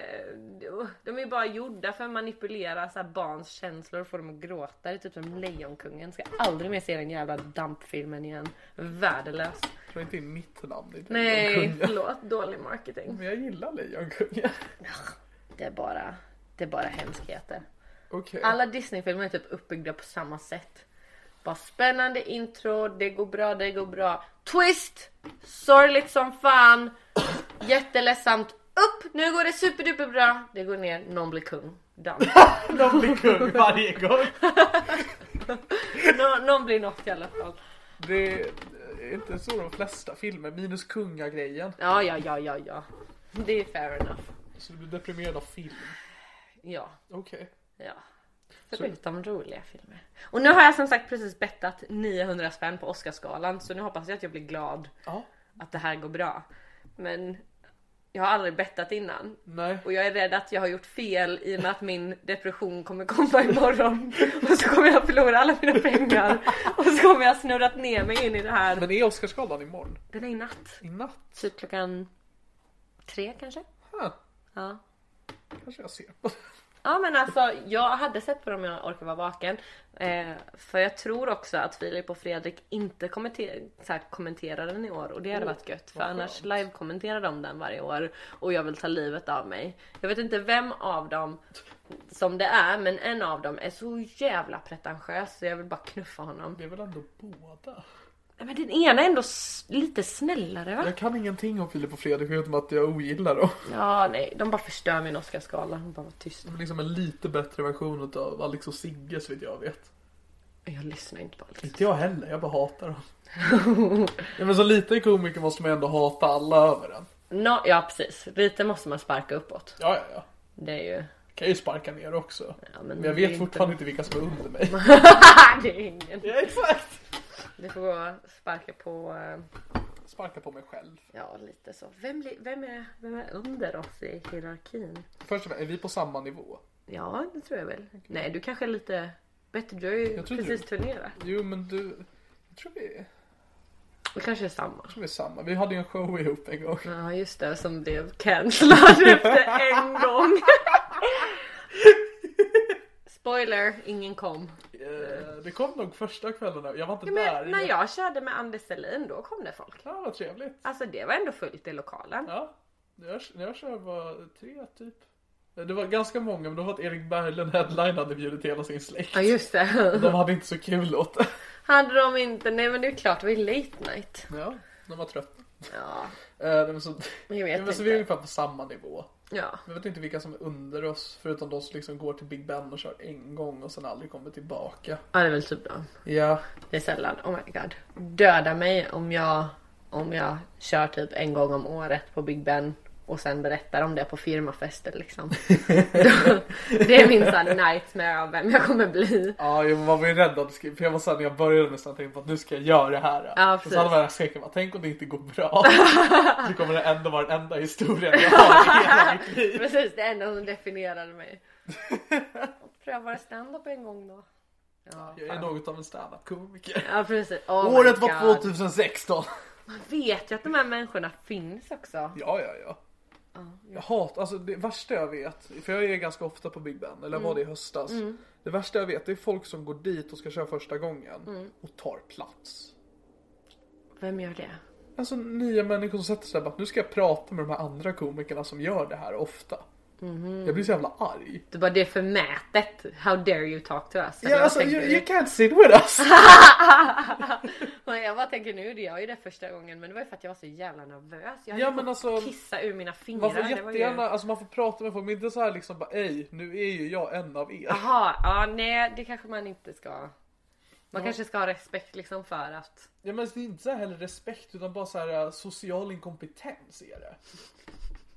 Speaker 4: de- de är bara gjorda för att manipulera så här barns känslor och få dem att gråta. Det är typ som Lejonkungen. Ska aldrig mer se den jävla dampfilmen igen. Värdelös.
Speaker 3: Det var inte in mitt namn i
Speaker 4: Nej,
Speaker 3: Lejonkungen.
Speaker 4: förlåt. Dålig marketing.
Speaker 3: Men jag gillar Lejonkungen.
Speaker 4: Det är bara, det är bara hemskheter.
Speaker 3: Okej.
Speaker 4: Alla Disney-filmer är typ uppbyggda på samma sätt. Bara spännande intro, det går bra, det går bra. Twist! Sorgligt som fan. Jätteledsamt. Upp! Nu går det superduper bra. Det går ner, någon blir kung. Done.
Speaker 3: De blir kung varje gång.
Speaker 4: Nå- någon blir något i alla fall.
Speaker 3: Det är inte så de flesta filmer, minus kungagrejen.
Speaker 4: Ja, ja, ja, ja, ja. Det är fair enough.
Speaker 3: Så du blir deprimerad av film.
Speaker 4: Ja,
Speaker 3: Okej.
Speaker 4: ja. Förutom roliga filmer. Och nu har jag som sagt precis bettat 900 spänn på Oscarsgalan så nu hoppas jag att jag blir glad
Speaker 3: Ja.
Speaker 4: att det här går bra. Men jag har aldrig bettat innan.
Speaker 3: Nej.
Speaker 4: Och jag är rädd att jag har gjort fel i och med att min depression kommer komma imorgon. Och så kommer jag förlora alla mina pengar. Och så kommer jag snurrat ner mig in i det här.
Speaker 3: Men är Oscarsgalan imorgon?
Speaker 4: Den är i natt.
Speaker 3: I natt?
Speaker 4: Typ klockan tre kanske?
Speaker 3: Huh.
Speaker 4: Ja.
Speaker 3: Kanske jag ser på
Speaker 4: Ja men alltså jag hade sett på dem om jag orkar vara vaken. Eh, för jag tror också att Filip och Fredrik inte kommenter- så här, kommenterar den i år och det hade
Speaker 3: Mm.
Speaker 4: varit gött. För annars live-kommenterar de den varje år och jag vill ta livet av mig. Jag vet inte vem av dem som det är men en av dem är så jävla pretentiös så jag vill bara knuffa honom.
Speaker 3: Det är väl ändå båda?
Speaker 4: Nej, Men den ena är ändå s- lite snällare va?
Speaker 3: Jag kan ingenting om Filip och Fredrik förutom att jag ogillar dem.
Speaker 4: Ja nej, de bara förstör min Oscarsgala. Hon bara var tyst.
Speaker 3: De är liksom en lite bättre version av Alex och Sigge så vet jag vet.
Speaker 4: Jag lyssnar inte på allt.
Speaker 3: Inte jag heller, jag bara hatar dem. ja, men som liten komiker måste man ändå hata alla över en.
Speaker 4: No, ja precis, lite måste man sparka uppåt.
Speaker 3: Ja, ja, ja.
Speaker 4: Det är ju...
Speaker 3: Kan ju sparka ner också.
Speaker 4: men
Speaker 3: men,
Speaker 4: det
Speaker 3: jag
Speaker 4: är
Speaker 3: vet
Speaker 4: inte-
Speaker 3: fortfarande inte vilka som är under mig.
Speaker 4: det är ingen.
Speaker 3: ja, exakt.
Speaker 4: Du får gå och sparka på, eh,
Speaker 3: Sparka på mig själv.
Speaker 4: ja lite så. Vem, blir- vem, är, vem är under oss i hierarkin?
Speaker 3: Först och främst, är vi på samma nivå?
Speaker 4: Ja, det tror jag väl. Nej, du kanske är lite bättre. Du har ju
Speaker 3: Jag tror
Speaker 4: precis
Speaker 3: du-
Speaker 4: turnerat.
Speaker 3: Jo, men du... Jag tror vi, jag
Speaker 4: Det kanske är samma.
Speaker 3: tror vi är samma. Vi hade ju en show ihop en gång.
Speaker 4: Ja, just det. Som blev cancellad efter en gång. Spoiler, ingen kom.
Speaker 3: Eh, Det kom nog första kvällen. Jag var inte där.
Speaker 4: Men när jag körde med Anders Selin, då kom det folk.
Speaker 3: Ja, vad trevligt.
Speaker 4: Alltså det var ändå fullt i lokalen.
Speaker 3: Ja, när jag, när jag körde var tre typ. Det var ganska många men det var att Erik Berglund headline hade bjudit hela sin släkt.
Speaker 4: Ja, just det.
Speaker 3: De hade inte så kul åt det.
Speaker 4: Hade de inte, nej men det är klart, det var ju late night.
Speaker 3: Ja, de var trötta.
Speaker 4: Ja,
Speaker 3: Eh, men så,
Speaker 4: jag
Speaker 3: men
Speaker 4: vet
Speaker 3: så
Speaker 4: inte.
Speaker 3: vi är ungefär på samma nivå.
Speaker 4: ja.
Speaker 3: Jag vet inte vilka som är under oss förutom de som liksom går till Big Ben och kör en gång och sen aldrig kommer tillbaka.
Speaker 4: Ja det är väl typ dem.
Speaker 3: Ja,
Speaker 4: Det är sällan, oh my god. Döda mig om jag, om jag kör typ en gång om året på Big Ben och sen berättar om det på firmafester liksom. det är min sån nightmare av vem jag kommer bli.
Speaker 3: ja jag var ju rädd att det skulle- för jag var såhär när jag började nästan tänkte på att nu ska jag göra det här.
Speaker 4: Ja,
Speaker 3: och
Speaker 4: precis.
Speaker 3: så hade man den här skräcken, bara, tänk om det inte går bra. så kommer det ändå vara den enda historien jag har i hela mitt liv.
Speaker 4: Precis, det enda som definierade mig. Pröva stand-up en gång då. Ja,
Speaker 3: Jag är något av en standup-komiker.
Speaker 4: ja precis. Oh my
Speaker 3: Året var
Speaker 4: God.
Speaker 3: 2016.
Speaker 4: Vet ju att de här människorna finns också.
Speaker 3: Ja, ja, ja. Jag hatar, alltså det värsta jag vet, för jag är ganska ofta på Big Ben, eller
Speaker 4: Mm.
Speaker 3: var det i höstas. Det värsta jag vet det är folk som går dit och ska köra första gången
Speaker 4: Mm.
Speaker 3: och tar plats.
Speaker 4: Vem gör det?
Speaker 3: Alltså nya människor som sätter sig där och bara, nu ska jag prata med de här andra komikerna som gör det här ofta.
Speaker 4: Mm-hmm.
Speaker 3: Jag blir så jävla arg.
Speaker 4: Du bara det är förmätet. How dare you talk to us?
Speaker 3: Ja, alltså, you, you can't sit with us.
Speaker 4: Och jag bara tänker nu, det jag ju det första gången men det var ju för att jag var så jävla nervös. Jag
Speaker 3: Ja,
Speaker 4: hade
Speaker 3: men
Speaker 4: fått
Speaker 3: alltså-
Speaker 4: kissa ur mina fingrar.
Speaker 3: Man får
Speaker 4: det var ju-
Speaker 3: jättegärna, alltså man får prata med folk, men inte så här liksom bara, ej, nu är ju jag en av er.
Speaker 4: Jaha, ja nej det kanske man inte ska. Man kanske ska ha respekt liksom för att
Speaker 3: Ja, men det är inte så här heller respekt utan bara så här eh, social inkompetens är det.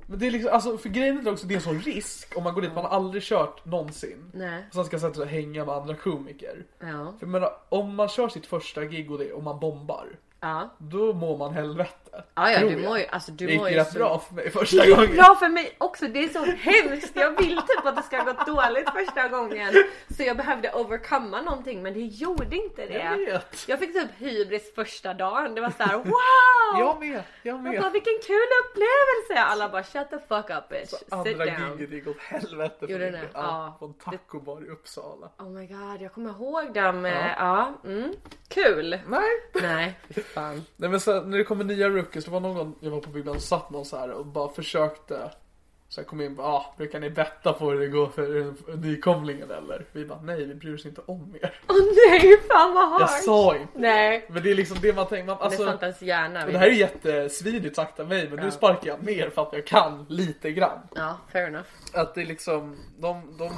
Speaker 3: Men det är liksom, alltså för grejen är också det är sån risk om man går dit man har aldrig kört någonsin.
Speaker 4: Nej.
Speaker 3: Och sen ska sätta sig och hänga med andra komiker.
Speaker 4: Ja.
Speaker 3: För jag menar, om man kör sitt första gig och, det, och man bombar.
Speaker 4: Ja.
Speaker 3: Då mår man helvete.
Speaker 4: Ja, ja,
Speaker 3: tror
Speaker 4: du
Speaker 3: jag.
Speaker 4: mår ju- alltså, du
Speaker 3: det gick
Speaker 4: mår ju
Speaker 3: rätt
Speaker 4: så-
Speaker 3: bra för mig första gången.
Speaker 4: Bra för mig också, det är så hemskt. Jag vill typ att det ska gå dåligt första gången. Så jag behövde overcomma någonting men det gjorde inte
Speaker 3: Jag
Speaker 4: det.
Speaker 3: vet.
Speaker 4: Jag fick typ hybris första dagen. Det var så här: wow!
Speaker 3: Jag med, jag
Speaker 4: Jag bara,
Speaker 3: med.
Speaker 4: vilken kul upplevelse! Alla bara shut the fuck up bitch, sit
Speaker 3: Andra giget
Speaker 4: down.
Speaker 3: gick åt helvete för
Speaker 4: Gjorde
Speaker 3: mig.
Speaker 4: det? Ja.
Speaker 3: Ja, på en tacobar i Uppsala.
Speaker 4: Oh my god, jag kommer ihåg dem. Ja, ja mm. kul.
Speaker 3: Nej.
Speaker 4: Nej, fy fan.
Speaker 3: Nej men sen, när det kommer nya rookies, det var någon jag var på bygden och satt någon så här och bara försökte så jag kom in och bara, ah, brukar ni betta på hur det går för eh, nykomlingen eller? Vi bara, nej vi bryr oss inte om er.
Speaker 4: Åh nej, fan vad
Speaker 3: Jag
Speaker 4: hårt.
Speaker 3: sa inte.
Speaker 4: Nej.
Speaker 3: Men det är liksom det man tänker, man,
Speaker 4: det
Speaker 3: alltså,
Speaker 4: fattas gärna.
Speaker 3: och det här är jättesvinigt sagt av mig men nu sparkar jag mer för att jag kan lite grann.
Speaker 4: Ja, fair enough.
Speaker 3: Att det är liksom, de, de,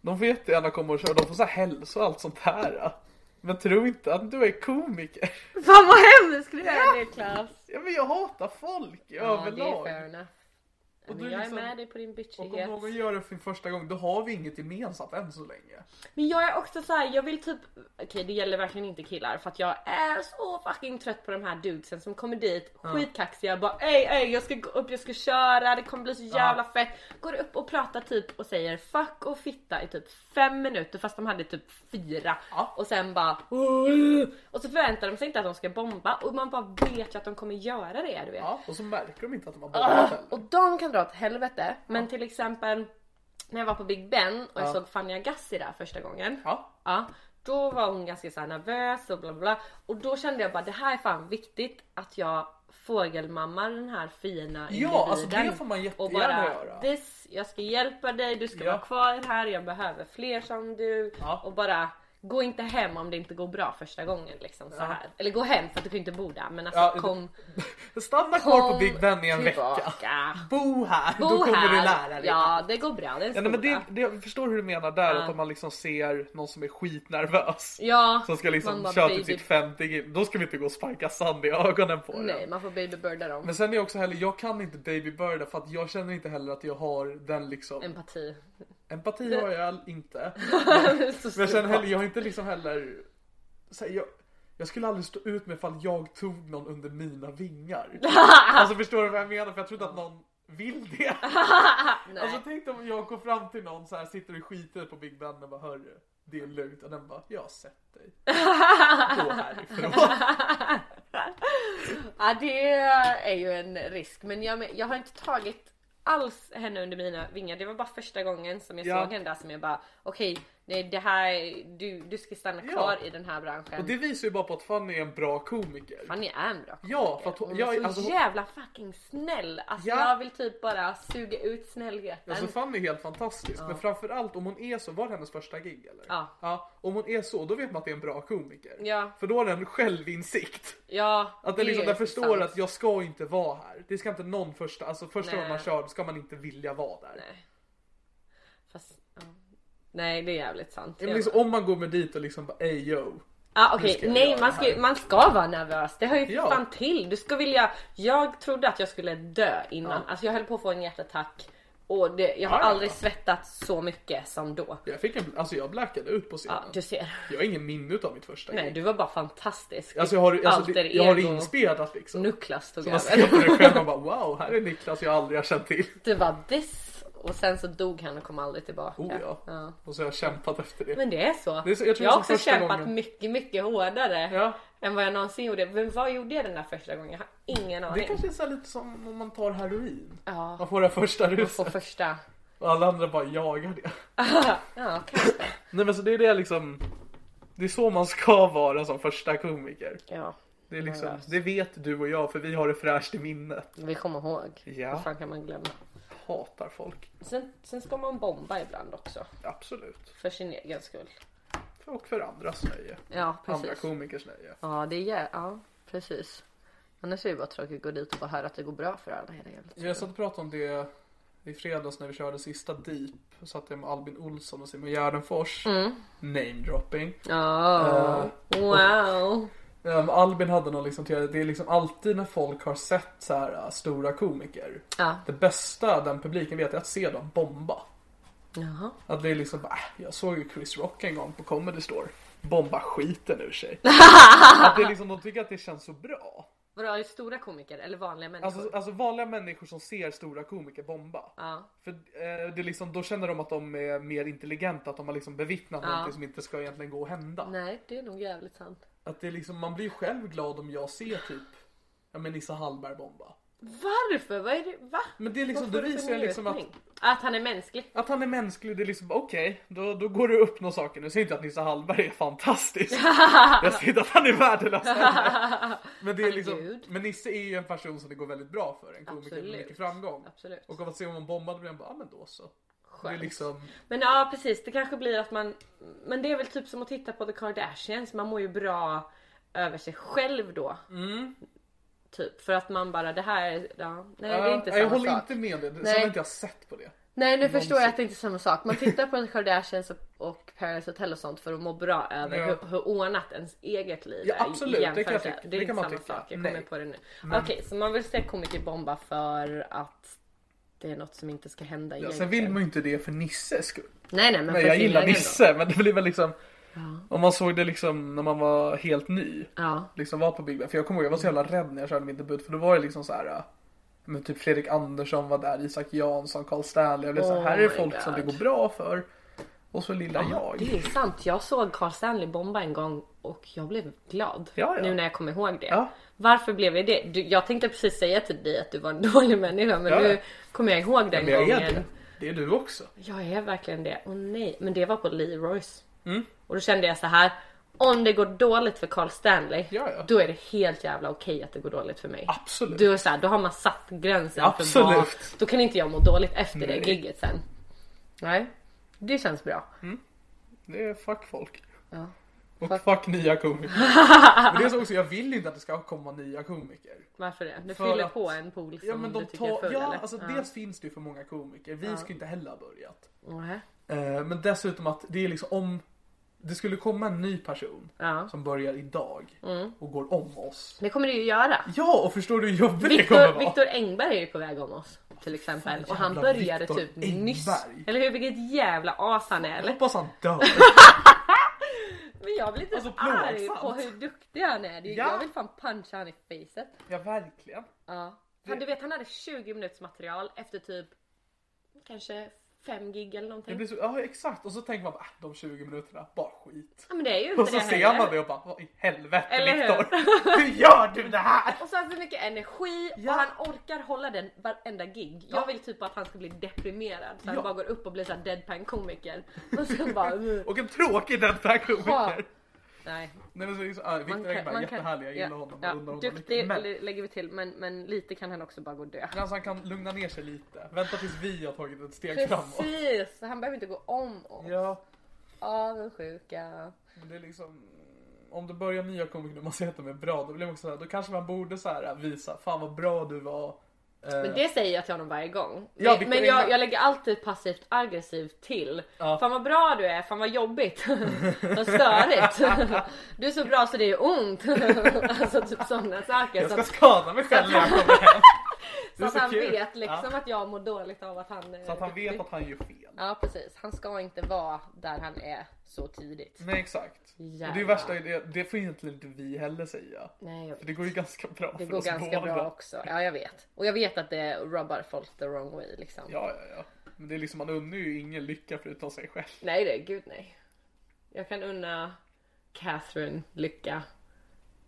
Speaker 3: de får jättegärna komma och köra, de får så här hälsa och allt sånt här. Men tro inte att du är komiker.
Speaker 4: Fan vad hemskt du är Niklas.
Speaker 3: Ja men jag hatar folk
Speaker 4: Ja, det är
Speaker 3: överlag.
Speaker 4: fair enough.
Speaker 3: Och
Speaker 4: Men
Speaker 3: du
Speaker 4: jag är
Speaker 3: liksom-
Speaker 4: med dig på din
Speaker 3: Och om
Speaker 4: bitchighet.
Speaker 3: någon gör det för första gången, då har vi inget gemensamt än så länge.
Speaker 4: Men jag är också så här, jag vill typ, okej det gäller verkligen inte killar för att jag är så fucking trött på de här dudesen som kommer dit skitkaxiga bara ey ey jag ska gå upp, jag ska köra, det kommer bli så jävla fett. Går upp och pratar typ och säger fuck och fitta i typ fem minuter fast de hade typ fyra och sen bara "Åh!" och så förväntar de sig inte att de ska bomba och man bara vet ju att de kommer göra det du vet.
Speaker 3: Ja, och så märker de inte att de har bombat heller.
Speaker 4: Och de kan dra åt helvete. Men till exempel när jag var på Big Ben och jag såg Fanny Agassi där första gången.
Speaker 3: Ja.
Speaker 4: då var hon ganska så här nervös och bla bla, bla. Och då kände jag bara det här är fan viktigt att jag fågelmammar den här fina individen.
Speaker 3: alltså, det får man
Speaker 4: och
Speaker 3: jättegärna
Speaker 4: bara,
Speaker 3: göra.
Speaker 4: This, jag ska hjälpa dig, du ska
Speaker 3: Ja.
Speaker 4: vara kvar här, jag behöver fler som du.
Speaker 3: Ja.
Speaker 4: Och bara Gå inte hem om det inte går bra första gången liksom så här. Eller gå hem för att du kan ju inte bo där men alltså
Speaker 3: Ja, det-
Speaker 4: kom,
Speaker 3: Stanna
Speaker 4: kom
Speaker 3: kvar på Big Ben i en vecka.
Speaker 4: tillbaka.
Speaker 3: Bo här,
Speaker 4: Bo
Speaker 3: då kommer
Speaker 4: här.
Speaker 3: du lära dig.
Speaker 4: Ja, det går bra. Det är en
Speaker 3: Ja, nej, men det,
Speaker 4: skola.
Speaker 3: det, jag förstår hur du menar där, att om man liksom ser någon som är skitnervös.
Speaker 4: Ja,
Speaker 3: Som ska
Speaker 4: man
Speaker 3: liksom
Speaker 4: bara,
Speaker 3: köra
Speaker 4: baby-
Speaker 3: till sitt 50 gig, då ska vi inte gå och sparka sand i ögonen på den.
Speaker 4: Nej, man får babybirda dem.
Speaker 3: Men sen är jag också heller, jag kan inte babybirda för att jag känner inte heller att jag har den liksom
Speaker 4: Empati.
Speaker 3: Empati har jag inte.
Speaker 4: Så
Speaker 3: Men jag känner heller, jag har inte liksom heller så här, jag, jag skulle aldrig stå ut med ifall jag tog någon under mina vingar. alltså förstår du vad jag menar? För jag tror inte att någon vill det. alltså tänk om jag går fram till någon så här sitter och skiter på Big Ben och bara hörru, det är lugnt. Och den bara, jag har sett dig. Gå härifrån.
Speaker 4: Ja, det är ju en risk. Men jag, jag har inte tagit alls henne under mina vingar. Det var bara första gången som jag
Speaker 3: Ja.
Speaker 4: såg henne där som jag bara okej, nej, det här, du, du ska stanna kvar i den här branschen.
Speaker 3: Och det visar ju bara på att Fanny är en bra komiker.
Speaker 4: Fanny är en bra
Speaker 3: Ja, för att hon-
Speaker 4: hon
Speaker 3: jag-
Speaker 4: är så
Speaker 3: alltså hon-
Speaker 4: jävla fucking snäll. Alltså
Speaker 3: Ja.
Speaker 4: jag vill typ bara suga ut snällheten.
Speaker 3: Alltså Fanny är helt fantastisk. Men framförallt om hon är så, var det hennes första gig eller?
Speaker 4: Ja.
Speaker 3: Om hon är så, då vet man att det är en bra komiker.
Speaker 4: Ja.
Speaker 3: För då har den självinsikt.
Speaker 4: ja,
Speaker 3: Att den, liksom, den
Speaker 4: är
Speaker 3: förstår
Speaker 4: sant.
Speaker 3: att jag ska inte vara här. Det ska inte någon första, alltså första
Speaker 4: Nej.
Speaker 3: gången man kör ska man inte vilja vara där.
Speaker 4: Nej. Fast, ja. Nej det är jävligt sant.
Speaker 3: Men liksom, om man går med dit och liksom bara ey yo.
Speaker 4: ah, okej.
Speaker 3: Nu ska jag
Speaker 4: Nej
Speaker 3: göra
Speaker 4: man
Speaker 3: det
Speaker 4: ska, ju-
Speaker 3: här.
Speaker 4: man ska vara nervös. Det hör ju för
Speaker 3: Ja.
Speaker 4: fan till. Du ska vilja. Jag trodde att jag skulle dö innan. Alltså jag höll på att få en hjärtattack. Och det, jag har
Speaker 3: Ja, ja,
Speaker 4: aldrig
Speaker 3: ja.
Speaker 4: svettat så mycket som då.
Speaker 3: Jag fick en, alltså jag blackade ut på scenen.
Speaker 4: Ja, du ser.
Speaker 3: Jag har ingen minne av mitt första
Speaker 4: Nej
Speaker 3: gig.
Speaker 4: du var bara fantastisk.
Speaker 3: Alltså jag har, alltså,
Speaker 4: Alter
Speaker 3: det, jag har det
Speaker 4: ego.
Speaker 3: inspelat liksom.
Speaker 4: Nuklas tog
Speaker 3: Så man
Speaker 4: över.
Speaker 3: ser på det själv och bara wow, här är Niklas jag aldrig har känt till.
Speaker 4: Du var this. Och sen så dog han och kom aldrig tillbaka.
Speaker 3: Oh ja. Och så har jag kämpat efter det.
Speaker 4: Men det är så.
Speaker 3: Det är så- jag tror
Speaker 4: har
Speaker 3: som
Speaker 4: också
Speaker 3: första
Speaker 4: kämpat
Speaker 3: gången.
Speaker 4: mycket, mycket hårdare
Speaker 3: Ja.
Speaker 4: än vad jag någonsin gjorde. Men vad gjorde jag den där första gången? Jag har ingen
Speaker 3: Det
Speaker 4: aning.
Speaker 3: kanske är så här lite som om man tar heroin.
Speaker 4: Ja.
Speaker 3: Man får det första
Speaker 4: På
Speaker 3: ruset
Speaker 4: första.
Speaker 3: och alla andra bara jagar det.
Speaker 4: Ja, kanske.
Speaker 3: Nej men så det är det liksom. Det är så man ska vara som första komiker.
Speaker 4: Ja.
Speaker 3: Det, är liksom, det vet du och jag för vi har det fräscht i minnet.
Speaker 4: Vi kommer ihåg.
Speaker 3: Ja.
Speaker 4: Vad fan kan man glömma?
Speaker 3: Hatar folk.
Speaker 4: Sen, sen ska man bomba ibland också.
Speaker 3: Absolut.
Speaker 4: För sin egen skull.
Speaker 3: Och för andras nöje.
Speaker 4: Ja,
Speaker 3: Andra
Speaker 4: precis.
Speaker 3: komikers nöje.
Speaker 4: Ja, det är jä- Ja, precis. Annars är det bara tråkigt att gå dit och bara höra att det går bra för alla hela jävla
Speaker 3: Jag satt och pratade om det i fredags när vi körde sista Deep så satt jag med Albin Olsson och Simon Gärdenfors. Namedropping.
Speaker 4: Oh, wow.
Speaker 3: Ehm, Albin hade någon liksom teori, det är liksom alltid när folk har sett så här äh, stora komiker.
Speaker 4: Ja.
Speaker 3: Det bästa den publiken vet är att se dem bomba.
Speaker 4: Jaha.
Speaker 3: Att det är liksom bara, äh, jag såg ju Chris Rock en gång på Comedy Store. Bomba skiten ur sig. att det är liksom, de tycker att det känns så bra.
Speaker 4: Vadå, är det stora komiker eller vanliga människor?
Speaker 3: Alltså, alltså vanliga människor som ser stora komiker bomba.
Speaker 4: Ja.
Speaker 3: För eh, det är liksom, då känner de att de är mer intelligenta, att de har liksom bevittnat
Speaker 4: Ja.
Speaker 3: någonting som inte ska egentligen gå och hända.
Speaker 4: Nej, det är nog jävligt sant.
Speaker 3: Att det är liksom, man blir själv glad om jag ser typ, ja men Nissa Hallberg bomba.
Speaker 4: Varför? Vad är det? Va?
Speaker 3: Men det är liksom-
Speaker 4: Vad
Speaker 3: det
Speaker 4: får du för
Speaker 3: visar ju liksom
Speaker 4: njutning? Att han är mänsklig.
Speaker 3: Att han är mänsklig, det är liksom okej, då, då går det upp några saker. Nu säger jag inte att Nisse Hallberg är fantastisk. jag säger inte att han är värdelös heller. men, det är
Speaker 4: är
Speaker 3: liksom,
Speaker 4: Gud.
Speaker 3: men Nisse är ju en person som det går väldigt bra för. En komiker med
Speaker 4: Absolut.
Speaker 3: mycket framgång.
Speaker 4: Absolut.
Speaker 3: Och av att se om hon bombade blir han bara, ah, men då så. Det är
Speaker 4: Skönt.
Speaker 3: liksom,
Speaker 4: Men ja precis, det kanske blir att man... Men det är väl typ som att titta på The Kardashians, man mår ju bra över sig själv då.
Speaker 3: Mm.
Speaker 4: Typ, för att man bara det här, ja, nej det är inte
Speaker 3: jag
Speaker 4: samma
Speaker 3: håller
Speaker 4: sak.
Speaker 3: inte med det. Sen
Speaker 4: Nej.
Speaker 3: har inte jag sett på det.
Speaker 4: Nej nu förstår jag att det inte är samma sak. Man tittar på The Kardashians och- och Paris Hotel och sånt för att må bra över
Speaker 3: Ja.
Speaker 4: hur, hur ordnat ens eget liv
Speaker 3: Ja,
Speaker 4: är. i
Speaker 3: absolut, det kan jag
Speaker 4: jämförelse.
Speaker 3: tycka.
Speaker 4: Det är
Speaker 3: Det
Speaker 4: inte
Speaker 3: kan man
Speaker 4: samma
Speaker 3: tycka.
Speaker 4: sak, jag
Speaker 3: Nej.
Speaker 4: kommer på det nu. Okej, så man vill se komiker bomba för att det är något som inte ska hända
Speaker 3: Ja, sen
Speaker 4: egentligen.
Speaker 3: vill man ju inte det för Nisses skull.
Speaker 4: Nej nej men
Speaker 3: Nej,
Speaker 4: för
Speaker 3: jag
Speaker 4: sin
Speaker 3: gillar
Speaker 4: egen då.
Speaker 3: Nisse men det blir väl liksom Om man såg det liksom när man var helt ny
Speaker 4: Ja.
Speaker 3: Liksom var på Big Bang För jag kommer ihåg jag var så jävla rädd när jag körde min debut För då var det liksom så här. äh, Men typ Fredrik Andersson var där, Isak Jansson, Carl Stanley Jag blev så här,
Speaker 4: Oh
Speaker 3: här är
Speaker 4: my
Speaker 3: folk som det
Speaker 4: God.
Speaker 3: går bra för Och så lilla jag
Speaker 4: Det är sant. Jag såg Carl Stanley bomba en gång och jag blev glad.
Speaker 3: Ja, ja.
Speaker 4: Nu när jag kommer ihåg det.
Speaker 3: Ja.
Speaker 4: Varför blev jag det? Du, jag tänkte precis säga till dig att du var en dålig människa men
Speaker 3: Ja, ja.
Speaker 4: nu kommer jag ihåg den
Speaker 3: Men jag är
Speaker 4: gången.
Speaker 3: det Det är du också
Speaker 4: Jag är verkligen det. Åh nej. Men det var på Leroys.
Speaker 3: Mm.
Speaker 4: Och då kände jag så här. Om det går dåligt för Carl Stanley,
Speaker 3: Ja, ja.
Speaker 4: då är det helt jävla okej att det går dåligt för mig.
Speaker 3: Absolut.
Speaker 4: Du är så här, då har man satt gränsen för vad...
Speaker 3: Absolut.
Speaker 4: Då kan inte jag må dåligt efter
Speaker 3: Nej.
Speaker 4: det gigget sen. Nej, det känns bra.
Speaker 3: Det är fuck folk
Speaker 4: Ja.
Speaker 3: Och fuck, nya komiker Men det är så också, jag vill inte att det ska komma nya komiker
Speaker 4: Varför det? Du
Speaker 3: För
Speaker 4: fyller
Speaker 3: att-
Speaker 4: på en pool som
Speaker 3: Ja men
Speaker 4: du
Speaker 3: de
Speaker 4: tycker är
Speaker 3: tar,
Speaker 4: full
Speaker 3: ja
Speaker 4: eller?
Speaker 3: alltså dels finns det ju för många komiker Vi skulle inte heller ha börjat
Speaker 4: Nähä.
Speaker 3: Eh, Men dessutom att det är liksom om det skulle komma en ny person
Speaker 4: Ja. Mm.
Speaker 3: som börjar idag och går om oss.
Speaker 4: Det kommer du ju göra.
Speaker 3: Ja, och förstår du hur jobbigt det kommer
Speaker 4: Viktor,
Speaker 3: vara?
Speaker 4: Viktor Engberg är ju på väg om oss till exempel och han
Speaker 3: jävla
Speaker 4: började
Speaker 3: Viktor
Speaker 4: typ
Speaker 3: Engberg.
Speaker 4: nyss. Eller hur? Vilket jävla as han är
Speaker 3: Jag
Speaker 4: eller?
Speaker 3: hoppas han dör.
Speaker 4: Men jag blir typ
Speaker 3: Alltså,
Speaker 4: arg
Speaker 3: plågsamt.
Speaker 4: på hur duktig han är. Det är
Speaker 3: Ja.
Speaker 4: Jag vill fan puncha han i facet.
Speaker 3: ja, verkligen.
Speaker 4: Ja. Han, du vet han hade 20 minuters material efter typ kanske 5 gig eller
Speaker 3: Det
Speaker 4: någonting.
Speaker 3: blir så, ja, exakt. Och så tänker man bara, "Ah, de 20 minuterna, bara skit.
Speaker 4: Ja men det är ju inte
Speaker 3: Och så
Speaker 4: det
Speaker 3: ser
Speaker 4: heller.
Speaker 3: man det och bara, vad i helvete
Speaker 4: Eller hur?
Speaker 3: Viktor? Hur gör du det här?
Speaker 4: Och så har han så mycket energi
Speaker 3: Ja.
Speaker 4: och han orkar hålla den varenda gig. Jag vill typ att han ska bli deprimerad så han
Speaker 3: Ja.
Speaker 4: bara går upp och blir såhär deadpan komiker. Och sen bara... "Mm." "Ugh."
Speaker 3: Och en tråkig den här komiker.
Speaker 4: Nej.
Speaker 3: Nej men så är det så, ah, Viktor Engberg, jättehärlig. Jag gillar honom.
Speaker 4: Ja,
Speaker 3: och undrar om han
Speaker 4: duktig
Speaker 3: lyckas. Men,
Speaker 4: lä- lägger vi till men, men lite kan han också bara gå och dö.
Speaker 3: men alltså, han kan lugna ner sig lite. Vänta tills vi har tagit ett steg framåt.
Speaker 4: Precis! Han behöver inte gå om och
Speaker 3: Ja.
Speaker 4: avundsjuka.
Speaker 3: Men det är liksom om du börjar nya komiker och man ser att de är bra då blir man också så här, då kanske man borde så här visa fan vad bra du var. Eh,
Speaker 4: Men det säger jag till honom varje gång.
Speaker 3: Ja,
Speaker 4: Men-
Speaker 3: Victor
Speaker 4: men jag,
Speaker 3: Engberg.
Speaker 4: jag lägger alltid passivt aggressivt till. Fan vad bra du är, fan vad jobbigt. Vad störigt. Du är så bra så det är ont. alltså typ sådana saker.
Speaker 3: jag
Speaker 4: Så
Speaker 3: ska
Speaker 4: att,
Speaker 3: skada mig själv när jag kommer hem. Det
Speaker 4: så
Speaker 3: är
Speaker 4: att
Speaker 3: så
Speaker 4: han
Speaker 3: kul.
Speaker 4: vet liksom
Speaker 3: Ja.
Speaker 4: att jag mår dåligt av att han...
Speaker 3: Så att han vet att han gör fel.
Speaker 4: Ja precis, han ska inte vara där han är så tidigt.
Speaker 3: Nej exakt. Och det
Speaker 4: Jävlar.
Speaker 3: är värsta är det, det får egentligen inte vi heller säga.
Speaker 4: Nej, jag
Speaker 3: För det går ju ganska bra
Speaker 4: Det
Speaker 3: för
Speaker 4: går
Speaker 3: oss
Speaker 4: ganska
Speaker 3: båda.
Speaker 4: bra också. Ja jag vet. Och jag vet att det rubbar folk the wrong way liksom.
Speaker 3: Ja ja ja. Men det är liksom man undrar ju ingen lycka förutom sig själv.
Speaker 4: Nej det, gud nej. Jag kan unna Catherine lycka.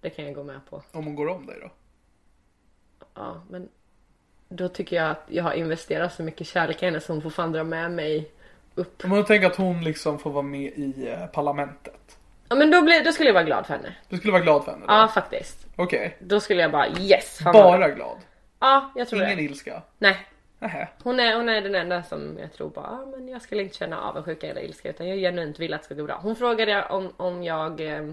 Speaker 4: Det kan jag gå med på.
Speaker 3: Om hon går om dig då.
Speaker 4: Ja, men då tycker jag att jag har investerat så mycket kärlek i henne så hon får fan dra med mig upp.
Speaker 3: Om man tänker att hon liksom får vara med i eh, parlamentet.
Speaker 4: Ja men då, blir, då skulle jag vara glad för henne.
Speaker 3: Du skulle vara glad för henne då?
Speaker 4: Ja faktiskt.
Speaker 3: Okej.
Speaker 4: Då skulle jag bara yes! Fan vad-
Speaker 3: Bara glad?
Speaker 4: Ja jag tror
Speaker 3: Ingen
Speaker 4: det.
Speaker 3: ilska?
Speaker 4: Nej.
Speaker 3: Nähä.
Speaker 4: Hon är, hon är den enda som jag tror bara, ah, men jag skulle inte känna avundsjuka eller ilska utan jag genuint vill att det ska gå bra. Hon frågade om, om jag eh,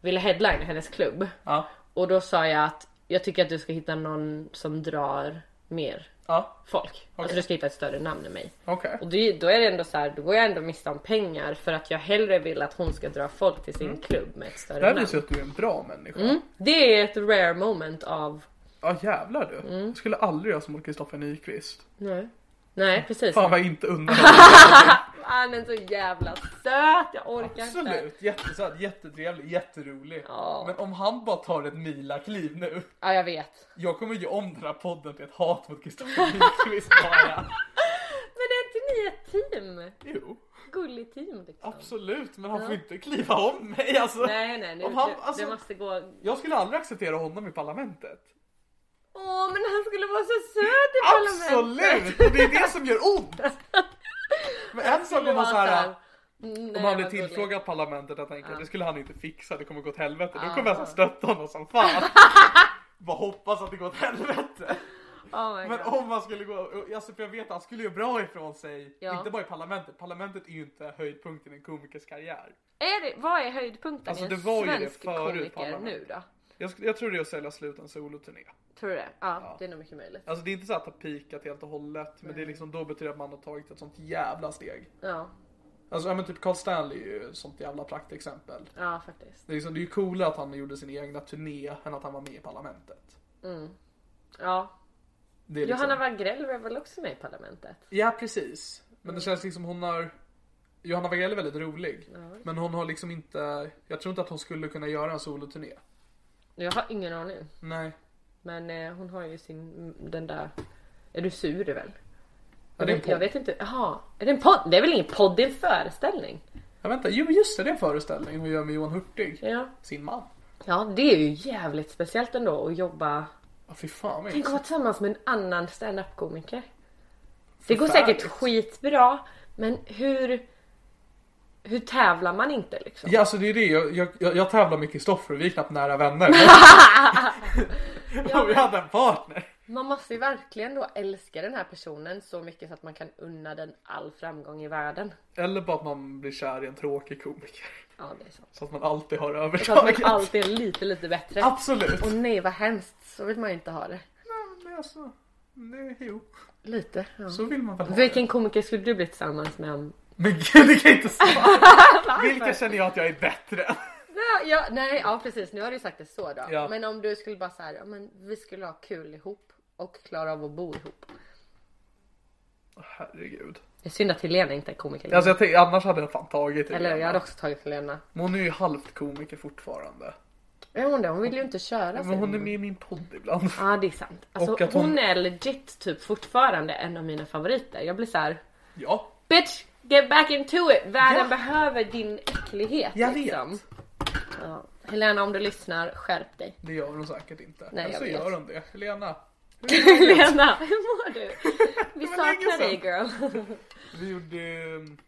Speaker 4: ville headline hennes klubb.
Speaker 3: Ja.
Speaker 4: Och då sa jag att jag tycker att du ska hitta någon som drar mer
Speaker 3: Ja,
Speaker 4: folk. Alltså du ska hitta ett större namn än mig.
Speaker 3: okej.
Speaker 4: Och det, då är det ändå så här, då går jag ändå miste om pengar för att jag hellre vill att hon ska dra folk till sin klubb med ett
Speaker 3: Mm. Det här
Speaker 4: större namn.
Speaker 3: visar ju att du är en bra människa.
Speaker 4: Mm. Det är ett rare moment av
Speaker 3: Ja jävlar du.
Speaker 4: Mm.
Speaker 3: Jag skulle aldrig göra som mot Kristoffer Nyqvist.
Speaker 4: Nej. Nej precis.
Speaker 3: Fan vad jag inte undrar.
Speaker 4: Han är Ah, så jävla söt, jag orkar inte.
Speaker 3: Absolut, jättesöt, jättetrevlig, jätterolig. Men om han bara tar ett milakliv nu.
Speaker 4: Ja jag vet.
Speaker 3: Jag kommer ge om den här podden till ett hat mot Kristoffer Nyqvist bara.
Speaker 4: Men är inte ni ett team?
Speaker 3: Jo,
Speaker 4: Gulligt team liksom.
Speaker 3: absolut. Men han får inte kliva om mig alltså.
Speaker 4: Nej nej nu,
Speaker 3: Om han-
Speaker 4: det-
Speaker 3: alltså-
Speaker 4: det måste gå.
Speaker 3: Jag skulle aldrig acceptera honom i parlamentet.
Speaker 4: Åh men han skulle vara så söt i
Speaker 3: Absolut! Och det är det som gör ont! Men en sak om man så här,
Speaker 4: Om
Speaker 3: om han blir tillfrågad parlamentet jag tänker det skulle han inte fixa, det kommer gå åt helvete. Då kommer jag så här stötta honom som fan. Bara hoppas att det går åt helvete.
Speaker 4: Oh my
Speaker 3: Men
Speaker 4: God.
Speaker 3: om man skulle gå, alltså för jag vet att han skulle göra bra ifrån sig.
Speaker 4: Ja.
Speaker 3: Inte bara i parlamentet, parlamentet är ju inte höjdpunkten i en komikers karriär.
Speaker 4: Är det, vad är höjdpunkten
Speaker 3: Alltså,
Speaker 4: i
Speaker 3: det
Speaker 4: en
Speaker 3: var ju det
Speaker 4: svensk
Speaker 3: förut,
Speaker 4: komiker
Speaker 3: Palme.
Speaker 4: nu då?
Speaker 3: Jag, sk- jag tror det är att sälja slut en soloturné.
Speaker 4: Tror du det? Ja, det är nog mycket möjligt.
Speaker 3: Alltså det är inte så att ha peakat helt och hållet, men det är liksom, då betyder det att man har tagit ett sånt jävla steg.
Speaker 4: Ja,
Speaker 3: Alltså ja, men typ Carl Stanley är ju ett sånt jävla praktexempel.
Speaker 4: ja faktiskt.
Speaker 3: Det är, liksom, det är ju coolare att han gjorde sin egna turné än att han var med i parlamentet.
Speaker 4: Ja.
Speaker 3: Det är liksom...
Speaker 4: Johanna Wagrell var väl också med i Parlamentet?
Speaker 3: Ja precis. Men det känns liksom hon har... Johanna Wagrell är väldigt rolig. Men hon har liksom inte... Jag tror inte att hon skulle kunna göra en soloturné.
Speaker 4: Jag har ingen aning.
Speaker 3: Nej.
Speaker 4: Men eh, hon har ju sin, den där... Är du sur väl?
Speaker 3: Ja, det är en
Speaker 4: Jag
Speaker 3: podd.
Speaker 4: vet inte, jaha. Är det en podd? Det är väl ingen podd, det är en föreställning.
Speaker 3: Ja, vänta. Jo just det, det är en föreställning hon gör med Johan Hurtig.
Speaker 4: Ja.
Speaker 3: Sin man.
Speaker 4: ja, det är ju jävligt speciellt ändå att jobba...
Speaker 3: Ja fy fan vad
Speaker 4: Tänk att vara
Speaker 3: intressant.
Speaker 4: tillsammans med en annan standup-komiker. Det går
Speaker 3: Förfärligt.
Speaker 4: säkert skitbra, men hur... Hur tävlar man inte liksom?
Speaker 3: Ja alltså det är det. Jag, jag, jag, jag tävlar med Kristoffer och vi är knappt nära vänner. Om vi hade en partner.
Speaker 4: Man måste ju verkligen då älska den här personen så mycket så att man kan unna den all framgång i världen.
Speaker 3: Eller bara att man blir kär i en tråkig komiker.
Speaker 4: Ja, det är sant.
Speaker 3: Så att man alltid har
Speaker 4: Så att man
Speaker 3: övertaget.
Speaker 4: alltid är lite, lite bättre.
Speaker 3: Absolut.
Speaker 4: Och nej vad hemskt, så vill man ju inte ha det.
Speaker 3: Nej, men alltså, nej, jo.
Speaker 4: Lite. Ja.
Speaker 3: Så vill man väl ha det.
Speaker 4: Vilken komiker skulle du bli tillsammans med om...
Speaker 3: Men gud, det kan jag inte svara. Vilka känner jag att jag är bättre än?
Speaker 4: Nej, ja, nej, ja precis, nu har du ju sagt det så då.
Speaker 3: Ja.
Speaker 4: Men om du skulle bara så här, ja men vi skulle ha kul ihop och klara av att bo ihop.
Speaker 3: Herregud.
Speaker 4: Det är synd att Helena inte är komiker längre.
Speaker 3: Alltså jag tänkte, annars hade jag fan tagit det.
Speaker 4: Eller jag hade också tagit Helena.
Speaker 3: Men hon är ju halvt komiker fortfarande.
Speaker 4: Är hon det? Hon vill ju inte köra
Speaker 3: Men hon
Speaker 4: sig.
Speaker 3: är med i min podd ibland.
Speaker 4: Ja det är sant.
Speaker 3: Och
Speaker 4: Alltså,
Speaker 3: att
Speaker 4: hon...
Speaker 3: hon-
Speaker 4: är legit typ fortfarande en av mina favoriter. Jag blir så här:
Speaker 3: Ja,
Speaker 4: bitch get back into it! Världen
Speaker 3: Ja.
Speaker 4: behöver din äcklighet
Speaker 3: Jag vet.
Speaker 4: liksom. Ja. Helena om du lyssnar, skärp dig.
Speaker 3: det gör hon säkert inte.
Speaker 4: Nej,
Speaker 3: Men
Speaker 4: jag
Speaker 3: så
Speaker 4: vet.
Speaker 3: gör hon det. Helena,
Speaker 4: Helena, hur mår du? Vi
Speaker 3: Det var länge
Speaker 4: saknar dig
Speaker 3: sedan.
Speaker 4: girl.
Speaker 3: vi gjorde... ehm,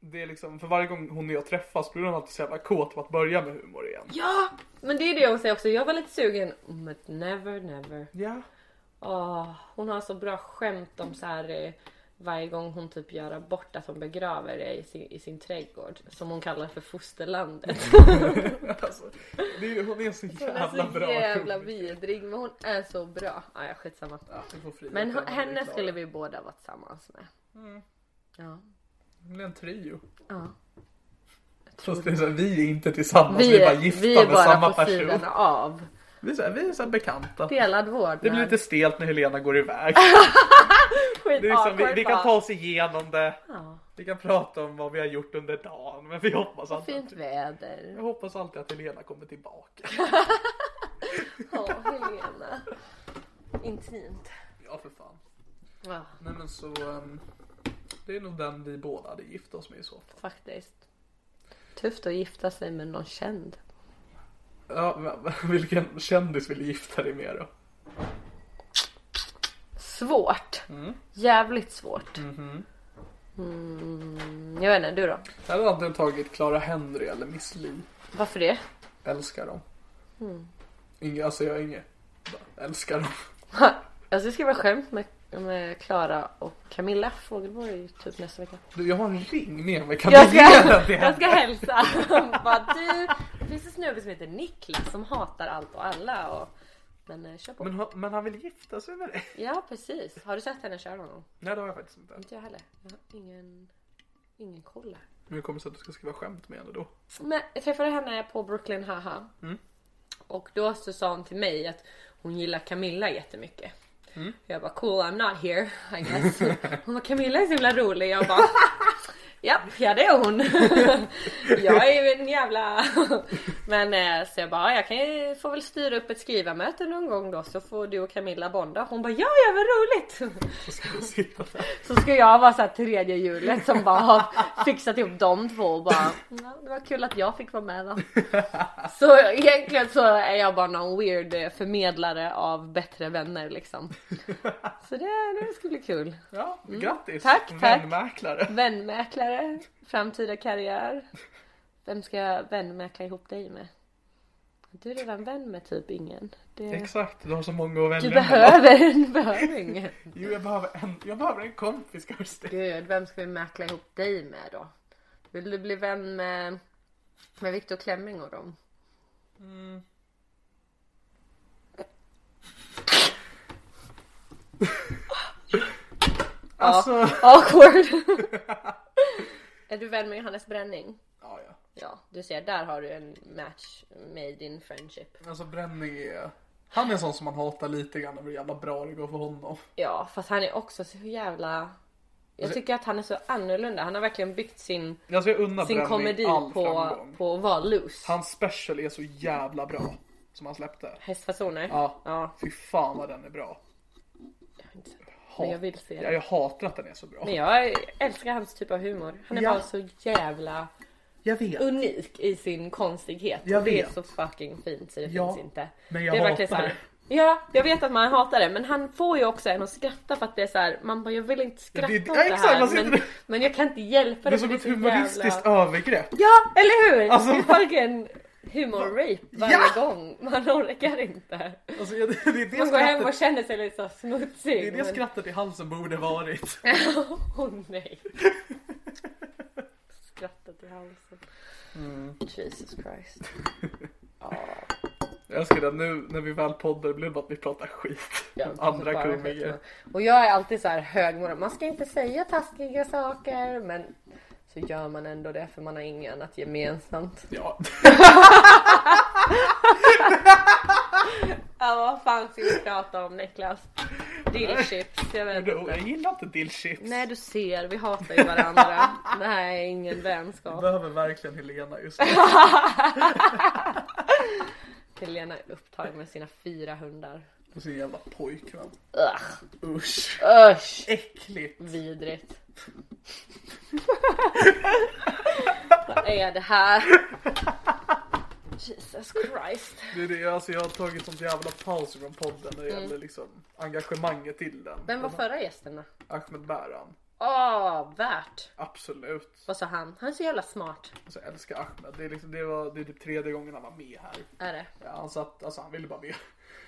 Speaker 3: Det är liksom, för varje gång hon och jag träffas blir hon alltid så jävla kåt på att börja med humor igen.
Speaker 4: Ja! Men det är det hon säger också, jag var lite sugen. But never never.
Speaker 3: Ja.
Speaker 4: Åh, hon har så bra skämt om så här eh, varje gång hon typ gör abort att hon begraver det i sin, i sin trädgård som hon kallar för fosterlandet.
Speaker 3: Alltså, det är, hon är så
Speaker 4: Hon
Speaker 3: jävla
Speaker 4: är så
Speaker 3: bra.
Speaker 4: jävla
Speaker 3: komiker.
Speaker 4: vidrig men hon är så bra. Ah, ja, skitsamma.
Speaker 3: Ja, vi får fria
Speaker 4: Men
Speaker 3: till
Speaker 4: hon,
Speaker 3: när vi är
Speaker 4: henne
Speaker 3: klara.
Speaker 4: skulle vi båda vara tillsammans med. Ja.
Speaker 3: Det blir Mm. en trio.
Speaker 4: ja.
Speaker 3: Fast det är så här, vi är inte tillsammans, vi är,
Speaker 4: Vi,
Speaker 3: bara
Speaker 4: är,
Speaker 3: gifta
Speaker 4: vi är
Speaker 3: med samma
Speaker 4: bara på
Speaker 3: person.
Speaker 4: sidan av.
Speaker 3: Vi är, så här, vi är så här bekanta.
Speaker 4: Delad vårdnad.
Speaker 3: Det blir lite stelt när Helena går iväg.
Speaker 4: skit
Speaker 3: Det är liksom, vi,
Speaker 4: awkward
Speaker 3: vi kan
Speaker 4: bara.
Speaker 3: ta oss igenom det.
Speaker 4: Ja.
Speaker 3: Vi kan prata om vad vi har gjort under dagen. Men vi hoppas alltid,
Speaker 4: Fint
Speaker 3: att,
Speaker 4: väder.
Speaker 3: jag hoppas alltid att Helena kommer tillbaka.
Speaker 4: Ja, Helena. Intimt.
Speaker 3: Ja för fan.
Speaker 4: Ja,
Speaker 3: Nej men så. ehm, Det är nog den vi båda hade gift oss med i så fall.
Speaker 4: faktiskt. Tufft att gifta sig med någon känd.
Speaker 3: Ja, men- vilken kändis vill du gifta dig med då?
Speaker 4: Svårt. Jävligt svårt. Mm, jag vet inte, du då?
Speaker 3: Jag hade antingen tagit Clara Henry eller Miss Li.
Speaker 4: Varför det?
Speaker 3: Älskar dem.
Speaker 4: Mm.
Speaker 3: Inga, alltså jag är inget. Bara Älskar dem.
Speaker 4: Jag Alltså, ska skriva skämt med, med Klara och Camilla Fogelborg typ nästa vecka.
Speaker 3: Du, jag har en ring med mig. Kan
Speaker 4: Jag
Speaker 3: du ge
Speaker 4: ska,
Speaker 3: den till
Speaker 4: jag
Speaker 3: henne?
Speaker 4: ska hälsa. Bara, du, det finns en snubbe som heter Niklas som hatar allt och alla. Och Men eh, kör på.
Speaker 3: Men, han- men han vill gifta sig med dig?
Speaker 4: Ja precis. Har du sett henne köra någon gång?
Speaker 3: Nej det har jag faktiskt inte.
Speaker 4: Inte jag heller. Jag har ingen, ingen koll här.
Speaker 3: Men hur kommer det sig att du ska skriva skämt med henne då?
Speaker 4: Men jag träffade henne på Brooklyn Haha. Och då så sa hon till mig att hon gillar Camilla jättemycket. Jag bara cool I'm not here I guess. Hon bara Camilla är så himla rolig. Jag bara Japp, ja det är hon. jag är ju en jävla... Men eh, så jag bara, jag kan ju, får väl styra upp ett skrivarmöte någon gång då så får du och Camilla bonda. Hon bara, ja ja vad roligt!
Speaker 3: Så ska jag sitta där.
Speaker 4: Så ska jag vara så här tredje hjulet som bara har fixat ihop de två och bara "Mm, "Ja, Det var kul att jag fick vara med då. Så egentligen så är jag bara någon weird eh, förmedlare av bättre vänner liksom. Så det, det skulle bli kul.
Speaker 3: Ja, grattis!
Speaker 4: Tack, tack.
Speaker 3: Vänmäklare!
Speaker 4: Vänmäklare, framtida karriär. Vem ska jag vänmäkla ihop dig med? Du är redan vän med typ ingen. Det,
Speaker 3: Exakt, du har så många att välja
Speaker 4: du
Speaker 3: mellan.
Speaker 4: behöver, du behöver ingen.
Speaker 3: Jo, jag behöver en, jag behöver en kompis Kirsti.
Speaker 4: Gud, vem ska vi mäkla ihop dig med då? Vill du bli vän med, med Viktor Klemming och dem?
Speaker 3: Mm. Alltså,
Speaker 4: Awkward! är du vän med Johannes Bränning?
Speaker 3: ja, ja.
Speaker 4: Ja, du ser, där har du en match made in friendship.
Speaker 3: Alltså Bränning är... Han är en sån som man hatar lite grann över hur jävla bra det går för honom.
Speaker 4: Ja, fast han är också så jävla... Jag tycker att han är så annorlunda. Han har verkligen byggt sin,
Speaker 3: Alltså jag unnar
Speaker 4: sin
Speaker 3: Bränning
Speaker 4: komedi
Speaker 3: all
Speaker 4: på,
Speaker 3: framgång.
Speaker 4: på att vara loose.
Speaker 3: Hans special är så jävla bra. Som han släppte.
Speaker 4: Hästfasoner.
Speaker 3: Ja.
Speaker 4: ja.
Speaker 3: Fy fan vad den är bra.
Speaker 4: Jag har inte sett det.
Speaker 3: Hat-
Speaker 4: Men jag vill se
Speaker 3: Ja,
Speaker 4: det.
Speaker 3: jag hatar att den är så bra.
Speaker 4: Men jag älskar hans typ av humor. Han är
Speaker 3: Ja.
Speaker 4: bara så jävla...
Speaker 3: Jag vet.
Speaker 4: unik i sin konstighet.
Speaker 3: Jag
Speaker 4: och det är
Speaker 3: vet.
Speaker 4: så fucking fint så det
Speaker 3: Ja,
Speaker 4: finns inte.
Speaker 3: men jag
Speaker 4: det är verkligen
Speaker 3: hatar
Speaker 4: så här- Ja, jag vet att man hatar det men han får ju också en att skratta för att det är så här, man bara jag vill inte
Speaker 3: Ja,
Speaker 4: skratta
Speaker 3: det-
Speaker 4: åt
Speaker 3: ja,
Speaker 4: det
Speaker 3: exakt, man
Speaker 4: här
Speaker 3: sitter
Speaker 4: men,
Speaker 3: där.
Speaker 4: men jag kan inte hjälpa
Speaker 3: Det är
Speaker 4: för
Speaker 3: som ett
Speaker 4: så
Speaker 3: humoristiskt
Speaker 4: jävla...
Speaker 3: övergrepp.
Speaker 4: Ja, eller hur?
Speaker 3: Alltså,
Speaker 4: det är
Speaker 3: man-
Speaker 4: fucking humor-rape varje
Speaker 3: Ja!
Speaker 4: gång. Man orkar inte.
Speaker 3: Alltså, jag- det, det är det
Speaker 4: Man går hem och
Speaker 3: skrattet,
Speaker 4: känner sig lite så smutsig.
Speaker 3: det är det
Speaker 4: men-
Speaker 3: skrattet i halsen borde varit.
Speaker 4: Åh nej. Skrattet i halsen. Jesus Christ.
Speaker 3: Jag älskar det, nu när vi väl poddar blir det bara att vi pratar skit.
Speaker 4: Ja, alltså,
Speaker 3: om andra
Speaker 4: bara
Speaker 3: komiker.
Speaker 4: skit. Och jag är alltid så här högmoral. Man ska inte säga taskiga saker men så gör man ändå det för man har inget annat gemensamt.
Speaker 3: Ja.
Speaker 4: Ja vad fan ska vi prata om Niklas? Dillchips, jag vet
Speaker 3: Jag
Speaker 4: inte.
Speaker 3: gillar inte dillchips.
Speaker 4: Nej du ser, vi hatar ju varandra. Det här är ingen
Speaker 3: Jag
Speaker 4: vänskap.
Speaker 3: behöver verkligen Helena just nu.
Speaker 4: Helena är upptagen med sina fyra hundar.
Speaker 3: Och sin jävla pojkvän.
Speaker 4: Ugh.
Speaker 3: Usch.
Speaker 4: Usch!
Speaker 3: Äckligt.
Speaker 4: Vidrigt. Vad är det här? Jesus Christ.
Speaker 3: Det är det, alltså jag har tagit sånt jävla paus från podden när det
Speaker 4: Mm.
Speaker 3: gäller liksom engagemanget till den.
Speaker 4: Vem var förra gästen då?
Speaker 3: Ahmed Bäran.
Speaker 4: Åh, värt.
Speaker 3: Absolut.
Speaker 4: Vad sa han? Han är så jävla smart.
Speaker 3: Alltså, jag älskar Ahmed. Det är, liksom, det, var, det är typ tredje gången han var med här.
Speaker 4: Är det?
Speaker 3: Ja, han, satt, alltså, han ville bara med.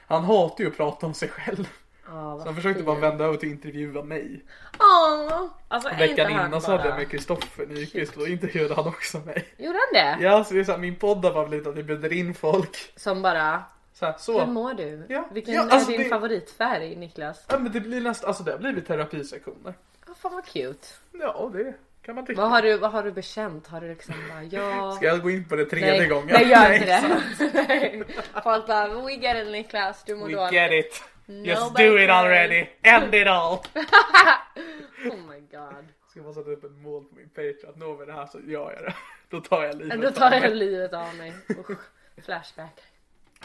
Speaker 3: Han hatar ju att prata om sig själv.
Speaker 4: Ja,
Speaker 3: Så han försökte bara vända över till att intervjua mig.
Speaker 4: Åh! Alltså är inte
Speaker 3: Veckan
Speaker 4: han bara...
Speaker 3: innan så hade jag med Kristoffer Nyqvist och då intervjuade han också mig.
Speaker 4: Gjorde han det?
Speaker 3: Ja, så det är så här, min podd har bara blivit att jag bjuder in folk.
Speaker 4: Som bara...
Speaker 3: Så, här,
Speaker 4: Hur
Speaker 3: så.
Speaker 4: mår du?
Speaker 3: Ja,
Speaker 4: Vilken
Speaker 3: ja, alltså
Speaker 4: är din
Speaker 3: det-
Speaker 4: favoritfärg Niklas?
Speaker 3: Ja, men det blir nästan, alltså det har blivit terapisektioner.
Speaker 4: Oh, fan vad cute.
Speaker 3: Ja, det kan man tycka.
Speaker 4: Vad har du, vad har du bekänt? Har du liksom bara ja...
Speaker 3: Ska jag gå in på det tredje
Speaker 4: Nej,
Speaker 3: gången?
Speaker 4: nej gör inte det. Folk bara we get it Niklas, du mår
Speaker 3: We
Speaker 4: dåligt.
Speaker 3: get it. Just
Speaker 4: Nobody
Speaker 3: do it
Speaker 4: cares.
Speaker 3: already. End it all.
Speaker 4: Oh my god.
Speaker 3: Ska jag bara sätta upp ett mål på min Patreon. Att når vi det här så gör jag det. Då tar jag livet
Speaker 4: Då tar jag livet av mig. Usch. Flashback.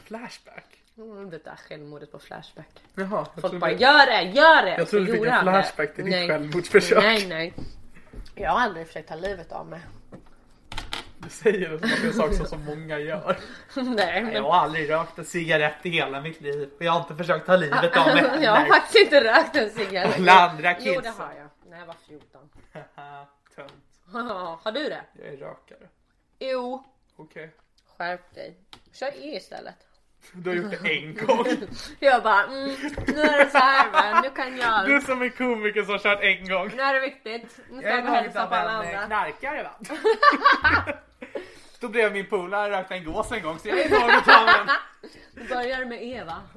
Speaker 3: Flashback.
Speaker 4: Mm, Det där självmordet på Flashback.
Speaker 3: Jaha. Jag
Speaker 4: Folk
Speaker 3: trodde,
Speaker 4: bara gör det, gör det!
Speaker 3: jag trodde
Speaker 4: Så
Speaker 3: du fick
Speaker 4: gjorde
Speaker 3: en
Speaker 4: han det.
Speaker 3: flashback till ditt
Speaker 4: Nej.
Speaker 3: självmordsförsök.
Speaker 4: Nej nej. Jag har aldrig försökt ta livet av mig.
Speaker 3: Du säger det som att det är en sak som så många gör.
Speaker 4: nej men
Speaker 3: har aldrig rökt en cigarett i hela mitt liv. Och jag har inte försökt ta livet av
Speaker 4: jag har faktiskt inte rökt en cigarett.
Speaker 3: Alla andra
Speaker 4: Jo det
Speaker 3: kidsen.
Speaker 4: har jag. När jag var 14.
Speaker 3: Tönt.
Speaker 4: har du det?
Speaker 3: Jag är rökare.
Speaker 4: Jo.
Speaker 3: Okej.
Speaker 4: Skärp dig. Kör E istället.
Speaker 3: Du har gjort det en gång.
Speaker 4: Jag bara, mm, nu är det så här va, nu kan jag
Speaker 3: Du
Speaker 4: allt.
Speaker 3: som är komiker som har kört en gång.
Speaker 4: Nu är det viktigt. Nu ska jag gå och hälsa på alla andra.
Speaker 3: knarkare va? Stod bredvid min polare och rökte en gås en gång så jag är enorm och tar den.
Speaker 4: Vi börjar med Eva.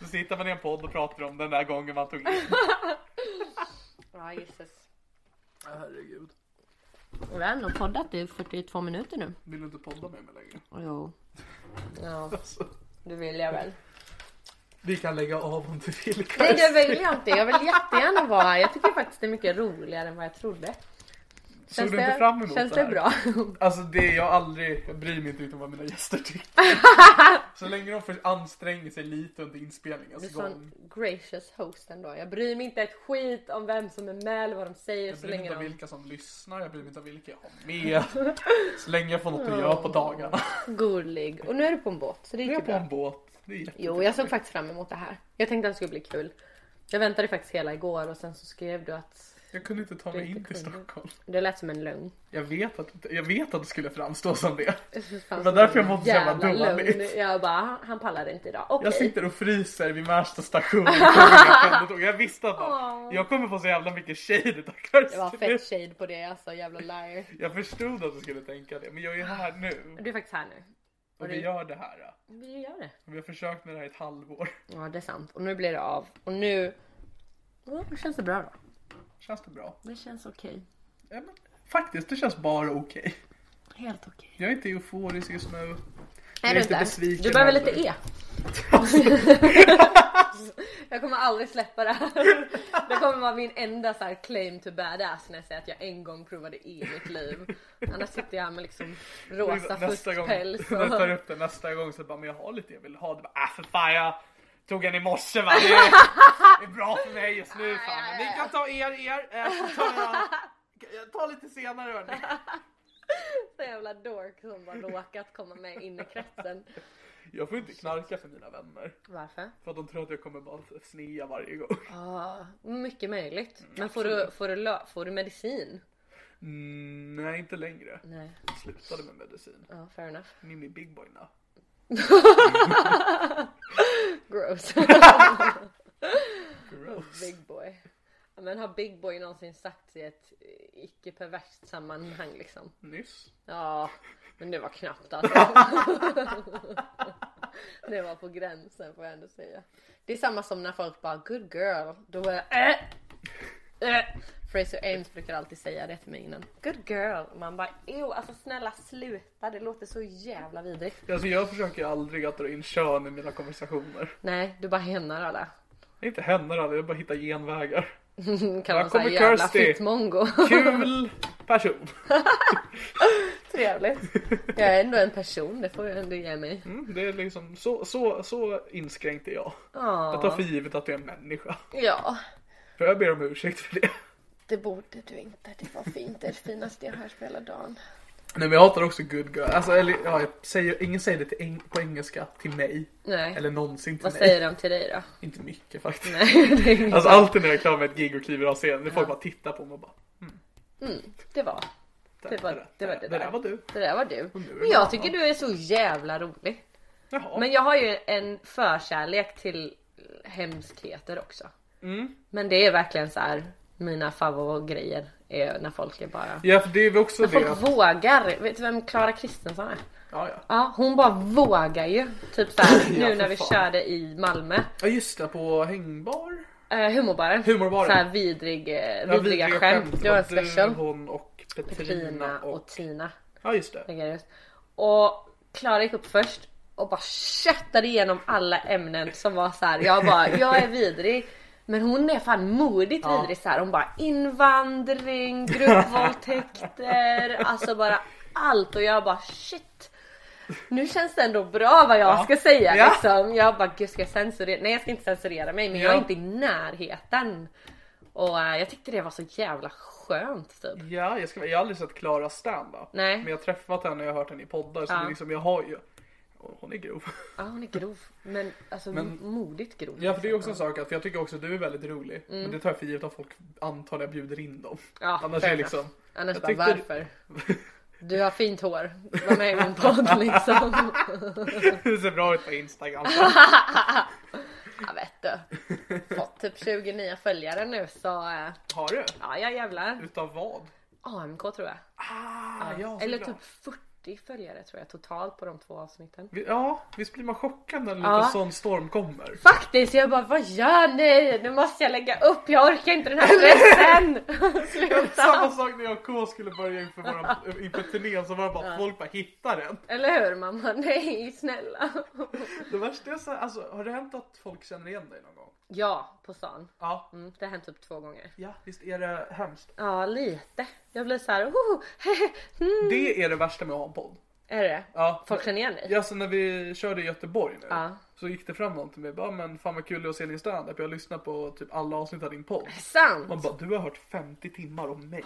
Speaker 3: Så sitter man i en podd och pratar om den där gången man tog livet.
Speaker 4: Ja, gisses.
Speaker 3: Herregud.
Speaker 4: Vi har ändå poddat i 42 minuter nu.
Speaker 3: Vill du inte podda med mig längre?
Speaker 4: Jo. Ja,
Speaker 3: Alltså.
Speaker 4: det vill jag väl.
Speaker 3: Vi kan lägga av om du vill.
Speaker 4: Nej, det vill jag inte. Jag vill jättegärna vara här. Jag tycker faktiskt det är mycket roligare än vad jag trodde.
Speaker 3: Såg du inte fram emot
Speaker 4: känns
Speaker 3: det
Speaker 4: det
Speaker 3: här?
Speaker 4: bra?
Speaker 3: Alltså det är jag aldrig, jag bryr mig inte utom vad mina gäster tycker. Så länge de får anstränga sig lite under alltså,
Speaker 4: Du är
Speaker 3: inspelningens gång.
Speaker 4: sån gracious host ändå. Jag bryr mig inte ett skit om vem som är med eller vad de säger
Speaker 3: Jag
Speaker 4: så
Speaker 3: bryr mig
Speaker 4: länge
Speaker 3: inte om
Speaker 4: de
Speaker 3: vilka som lyssnar, jag bryr mig inte om vilka jag har med. Så länge jag får något att göra på dagarna.
Speaker 4: gullig. Och nu är du på en båt så det
Speaker 3: Nu är
Speaker 4: gick ju
Speaker 3: jag på
Speaker 4: bra.
Speaker 3: en båt. Det är jätte-
Speaker 4: Jo, jag såg faktiskt fram emot det här. Jag tänkte att det skulle bli kul. Jag väntade faktiskt hela igår och sen så skrev du att
Speaker 3: jag kunde inte ta mig in till
Speaker 4: kunde.
Speaker 3: Stockholm.
Speaker 4: det lät som en lögn.
Speaker 3: Jag vet att, jag vet att det skulle framstå som det.
Speaker 4: Det fanns
Speaker 3: var därför jag
Speaker 4: en
Speaker 3: mådde så jävla
Speaker 4: jävla
Speaker 3: dåligt.
Speaker 4: lögn. Jag bara, han pallade inte idag. Okej.
Speaker 3: Jag sitter och fryser vid Märsta station. och kommer ihåg. Jag visste att bara, jag kommer få så jävla mycket shade utav
Speaker 4: Det var
Speaker 3: Karlsson.
Speaker 4: fett shade på det alltså, jävla liar.
Speaker 3: Jag förstod att du skulle tänka det, men jag är här nu.
Speaker 4: Du är faktiskt här nu.
Speaker 3: Och vi gör det här. då.
Speaker 4: Vi gör det.
Speaker 3: Vi har försökt med det här i ett halvår.
Speaker 4: Ja, det är sant. Och nu blir det av. Och nu... Ja, det känns det bra då?
Speaker 3: Känns det bra?
Speaker 4: Det känns okej.
Speaker 3: Ja, men, faktiskt, det känns bara okej.
Speaker 4: Helt okej.
Speaker 3: Jag är inte euforisk just nu. är
Speaker 4: Är du
Speaker 3: lite
Speaker 4: inte?
Speaker 3: besviken
Speaker 4: Du behöver
Speaker 3: heller.
Speaker 4: lite E. jag kommer aldrig släppa det här. Det kommer vara min enda så här claim to badass när jag säger att jag en gång provade E i mitt liv. Annars sitter jag här med liksom rosa
Speaker 3: nästa gång
Speaker 4: fuskpäls
Speaker 3: när jag tar
Speaker 4: och...
Speaker 3: upp det nästa gång så bara, men jag har lite jag vill ha. Det bara, äh för fan jag tog en i morse va. Det är, det är bra för mig just nu fan. Ni kan ta er, er. eh, så tar Jag jag tar lite senare hörni.
Speaker 4: Så jävla dork som bara råkat komma med in i kretsen.
Speaker 3: Jag får inte knarka för mina vänner.
Speaker 4: Varför?
Speaker 3: För att de tror att jag kommer bara snea varje gång.
Speaker 4: Ja, mycket möjligt. Men får du, får, du, lö- får du medicin?
Speaker 3: Mm, nej inte längre.
Speaker 4: Nej.
Speaker 3: Jag slutade med medicin.
Speaker 4: Ja, fair enough.
Speaker 3: Mimmi Big Boy now.
Speaker 4: Gross.
Speaker 3: Gross.
Speaker 4: Big boy. Ja, Men har Big boy någonsin sagts i ett eh, icke perverst sammanhang liksom?
Speaker 3: Nyss.
Speaker 4: Ja, men det var knappt alltså. det var på gränsen får jag ändå säga. Det är samma som när folk bara good girl. Då var jag äh, äh. Fraser Ames brukar alltid säga det till mig innan. Good girl. Och Man bara ew, alltså snälla sluta. Det låter så jävla vidrigt.
Speaker 3: Alltså jag försöker aldrig att dra in kön i mina konversationer.
Speaker 4: Nej, du bara hennar alla.
Speaker 3: Det är inte händer aldrig, jag bara hittar genvägar.
Speaker 4: Kan vara såhär
Speaker 3: kommer
Speaker 4: jävla
Speaker 3: Kirsty.
Speaker 4: fittmongo.
Speaker 3: Kul person.
Speaker 4: Trevligt. Jag är ändå en person, det får du ändå ge mig.
Speaker 3: Mm, det är liksom så, så, så inskränkt är jag. Jag tar för givet att jag är en människa.
Speaker 4: Ja,
Speaker 3: För jag ber om ursäkt för det.
Speaker 4: det borde du inte. Det var fint. Det är det finaste jag hört på hela dagen.
Speaker 3: Nej men jag hatar också good girl. Alltså, eller, ja, jag säger, ingen säger det till eng- på engelska till mig.
Speaker 4: Nej.
Speaker 3: Eller någonsin till
Speaker 4: Vad
Speaker 3: mig.
Speaker 4: säger de till dig då?
Speaker 3: Inte mycket faktiskt.
Speaker 4: Nej, det, är inget.
Speaker 3: Alltså alltid när jag är klar med ett gig och kliver av scenen, det är folk bara tittar på mig och bara.
Speaker 4: det var
Speaker 3: "Där,
Speaker 4: Det var- det var det
Speaker 3: Det
Speaker 4: där."
Speaker 3: där var du.
Speaker 4: det där var du.
Speaker 3: är det
Speaker 4: Men jag
Speaker 3: bra.
Speaker 4: tycker du är så jävla rolig.
Speaker 3: Jaha.
Speaker 4: Men jag har ju en förkärlek till hemskheter också.
Speaker 3: Mm.
Speaker 4: Men det är verkligen så här mina favoritgrejer är när folk är bara
Speaker 3: Ja för det är väl också
Speaker 4: när
Speaker 3: det.
Speaker 4: folk
Speaker 3: att-
Speaker 4: vågar. Vet du vem Klara Kristensson är?
Speaker 3: Ja, ja.
Speaker 4: Ja, hon bara vågar ju. Typ såhär nu
Speaker 3: för
Speaker 4: när vi
Speaker 3: fan.
Speaker 4: körde i Malmö.
Speaker 3: ja just det, på hängbar.
Speaker 4: Uh, humorbaren.
Speaker 3: Humorbaren.
Speaker 4: Såhär vidrig, eh,
Speaker 3: Ja,
Speaker 4: vidriga, skämt. Det var en special.
Speaker 3: Du, hon och Petrina
Speaker 4: Tina
Speaker 3: och...
Speaker 4: och Tina.
Speaker 3: Ja just det.
Speaker 4: Hegelius. Och Klara gick upp först och bara köttade igenom alla ämnen som var så här. Jag bara, jag är vidrig. Men hon är fan modigt vidrig så här. Hon bara invandring, gruppvåldtäkter, alltså bara allt. Och jag bara shit. Nu känns det ändå bra vad jag ska säga
Speaker 3: Ja.
Speaker 4: liksom. Jag bara gud ska jag censurera? Nej jag ska inte censurera mig men jag är
Speaker 3: Ja.
Speaker 4: inte i närheten. Och eh, jag tyckte det var så jävla skönt typ.
Speaker 3: Ja, jag, ska, jag har aldrig sett Klara stand-up.
Speaker 4: Nej.
Speaker 3: Men jag har träffat henne och jag har hört henne i poddar så
Speaker 4: Ja.
Speaker 3: det är liksom, jag har ju hon är grov.
Speaker 4: Ja hon är grov. Men alltså modigt grov.
Speaker 3: Ja för det är också en sak att för jag tycker också att du är väldigt rolig. Men det tar jag för givet att folk antar när jag bjuder in dem.
Speaker 4: Mm. Ja,
Speaker 3: Annars
Speaker 4: fair
Speaker 3: är det liksom.
Speaker 4: enough. Annars
Speaker 3: jag
Speaker 4: bara
Speaker 3: tyckte-
Speaker 4: varför? Du har fint hår. Var med i min podd liksom.
Speaker 3: det ser bra ut på Instagram.
Speaker 4: Jag vet du. Fått typ 20 nya följare nu så eh,
Speaker 3: har du?
Speaker 4: ja jag jävlar.
Speaker 3: Utav vad?
Speaker 4: AMK tror jag.
Speaker 3: Ah, ja, så
Speaker 4: Eller
Speaker 3: bra.
Speaker 4: typ 40 följare tror jag totalt på de två avsnitten.
Speaker 3: Vi- Ja, visst blir man chockad när en
Speaker 4: Ja.
Speaker 3: liten sån storm kommer?
Speaker 4: Faktiskt, jag bara vad gör ni? Nu måste jag lägga upp, jag orkar inte den här stressen!
Speaker 3: Samma
Speaker 4: Sluta!
Speaker 3: sak när jag och K skulle börja inför, våra, inför turnén så var det bara folk bara hittar den.
Speaker 4: Eller hur mamma? Nej snälla!
Speaker 3: Det värsta är så här, alltså har det hänt att folk känner igen dig någon gång?
Speaker 4: Ja, på stan.
Speaker 3: Ja.
Speaker 4: Mm, det har hänt typ två gånger.
Speaker 3: Ja, visst är det hemskt?
Speaker 4: Ja, lite. Jag blir så här, oh, mm.
Speaker 3: Det är det värsta med att ha en podd.
Speaker 4: Är det
Speaker 3: Ja.
Speaker 4: Folk känner igen dig?
Speaker 3: Ja, så när vi körde i Göteborg nu
Speaker 4: Ja.
Speaker 3: så gick det fram någon till mig bara, men fan vad kul det är att se din standup. Jag lyssnar på typ alla avsnitt av din podd.
Speaker 4: Sant!
Speaker 3: Man bara, du har hört 50 timmar om mig.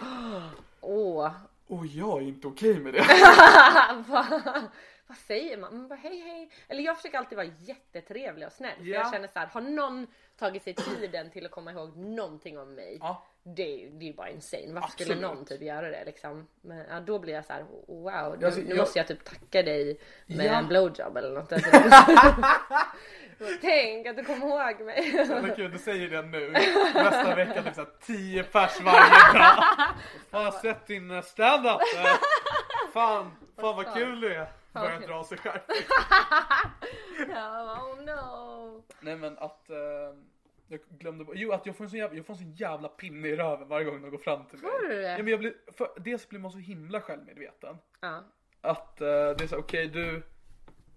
Speaker 4: Åh,
Speaker 3: Och jag är inte okej med det.
Speaker 4: vad, vad säger man? Man bara hej hej. Eller jag försöker alltid vara jättetrevlig och snäll. För
Speaker 3: Ja.
Speaker 4: jag känner så här, har någon tagit sig tiden till att komma ihåg någonting om mig?
Speaker 3: Ja.
Speaker 4: Det, är ju- det är ju bara insane. Varför skulle
Speaker 3: Absolut.
Speaker 4: någon typ göra det liksom? Men ja, då blir jag så här, wow. Nu,
Speaker 3: Ja, alltså,
Speaker 4: nu
Speaker 3: jag-
Speaker 4: måste jag typ tacka dig med
Speaker 3: Ja.
Speaker 4: en blowjob eller något. Tänk att du kom ihåg mig.
Speaker 3: Men gud, du säger det nu. Nästa vecka typ såhär 10 pers varje dag. Fan, jag har sett din eh, standup. Eh, Fan, fan vad kul du är. Börjar dra av sig själv.
Speaker 4: Ja, oh no.
Speaker 3: Nej men att eh, jag glömde bara- Jo att jag får en sån jävla, jag får en sån jävla pinne i röven varje gång de går fram till mig.
Speaker 4: Får du det?
Speaker 3: Ja, men jag blir, för, dels blir man så himla självmedveten.
Speaker 4: Ja.
Speaker 3: Att eh, det är så okej du.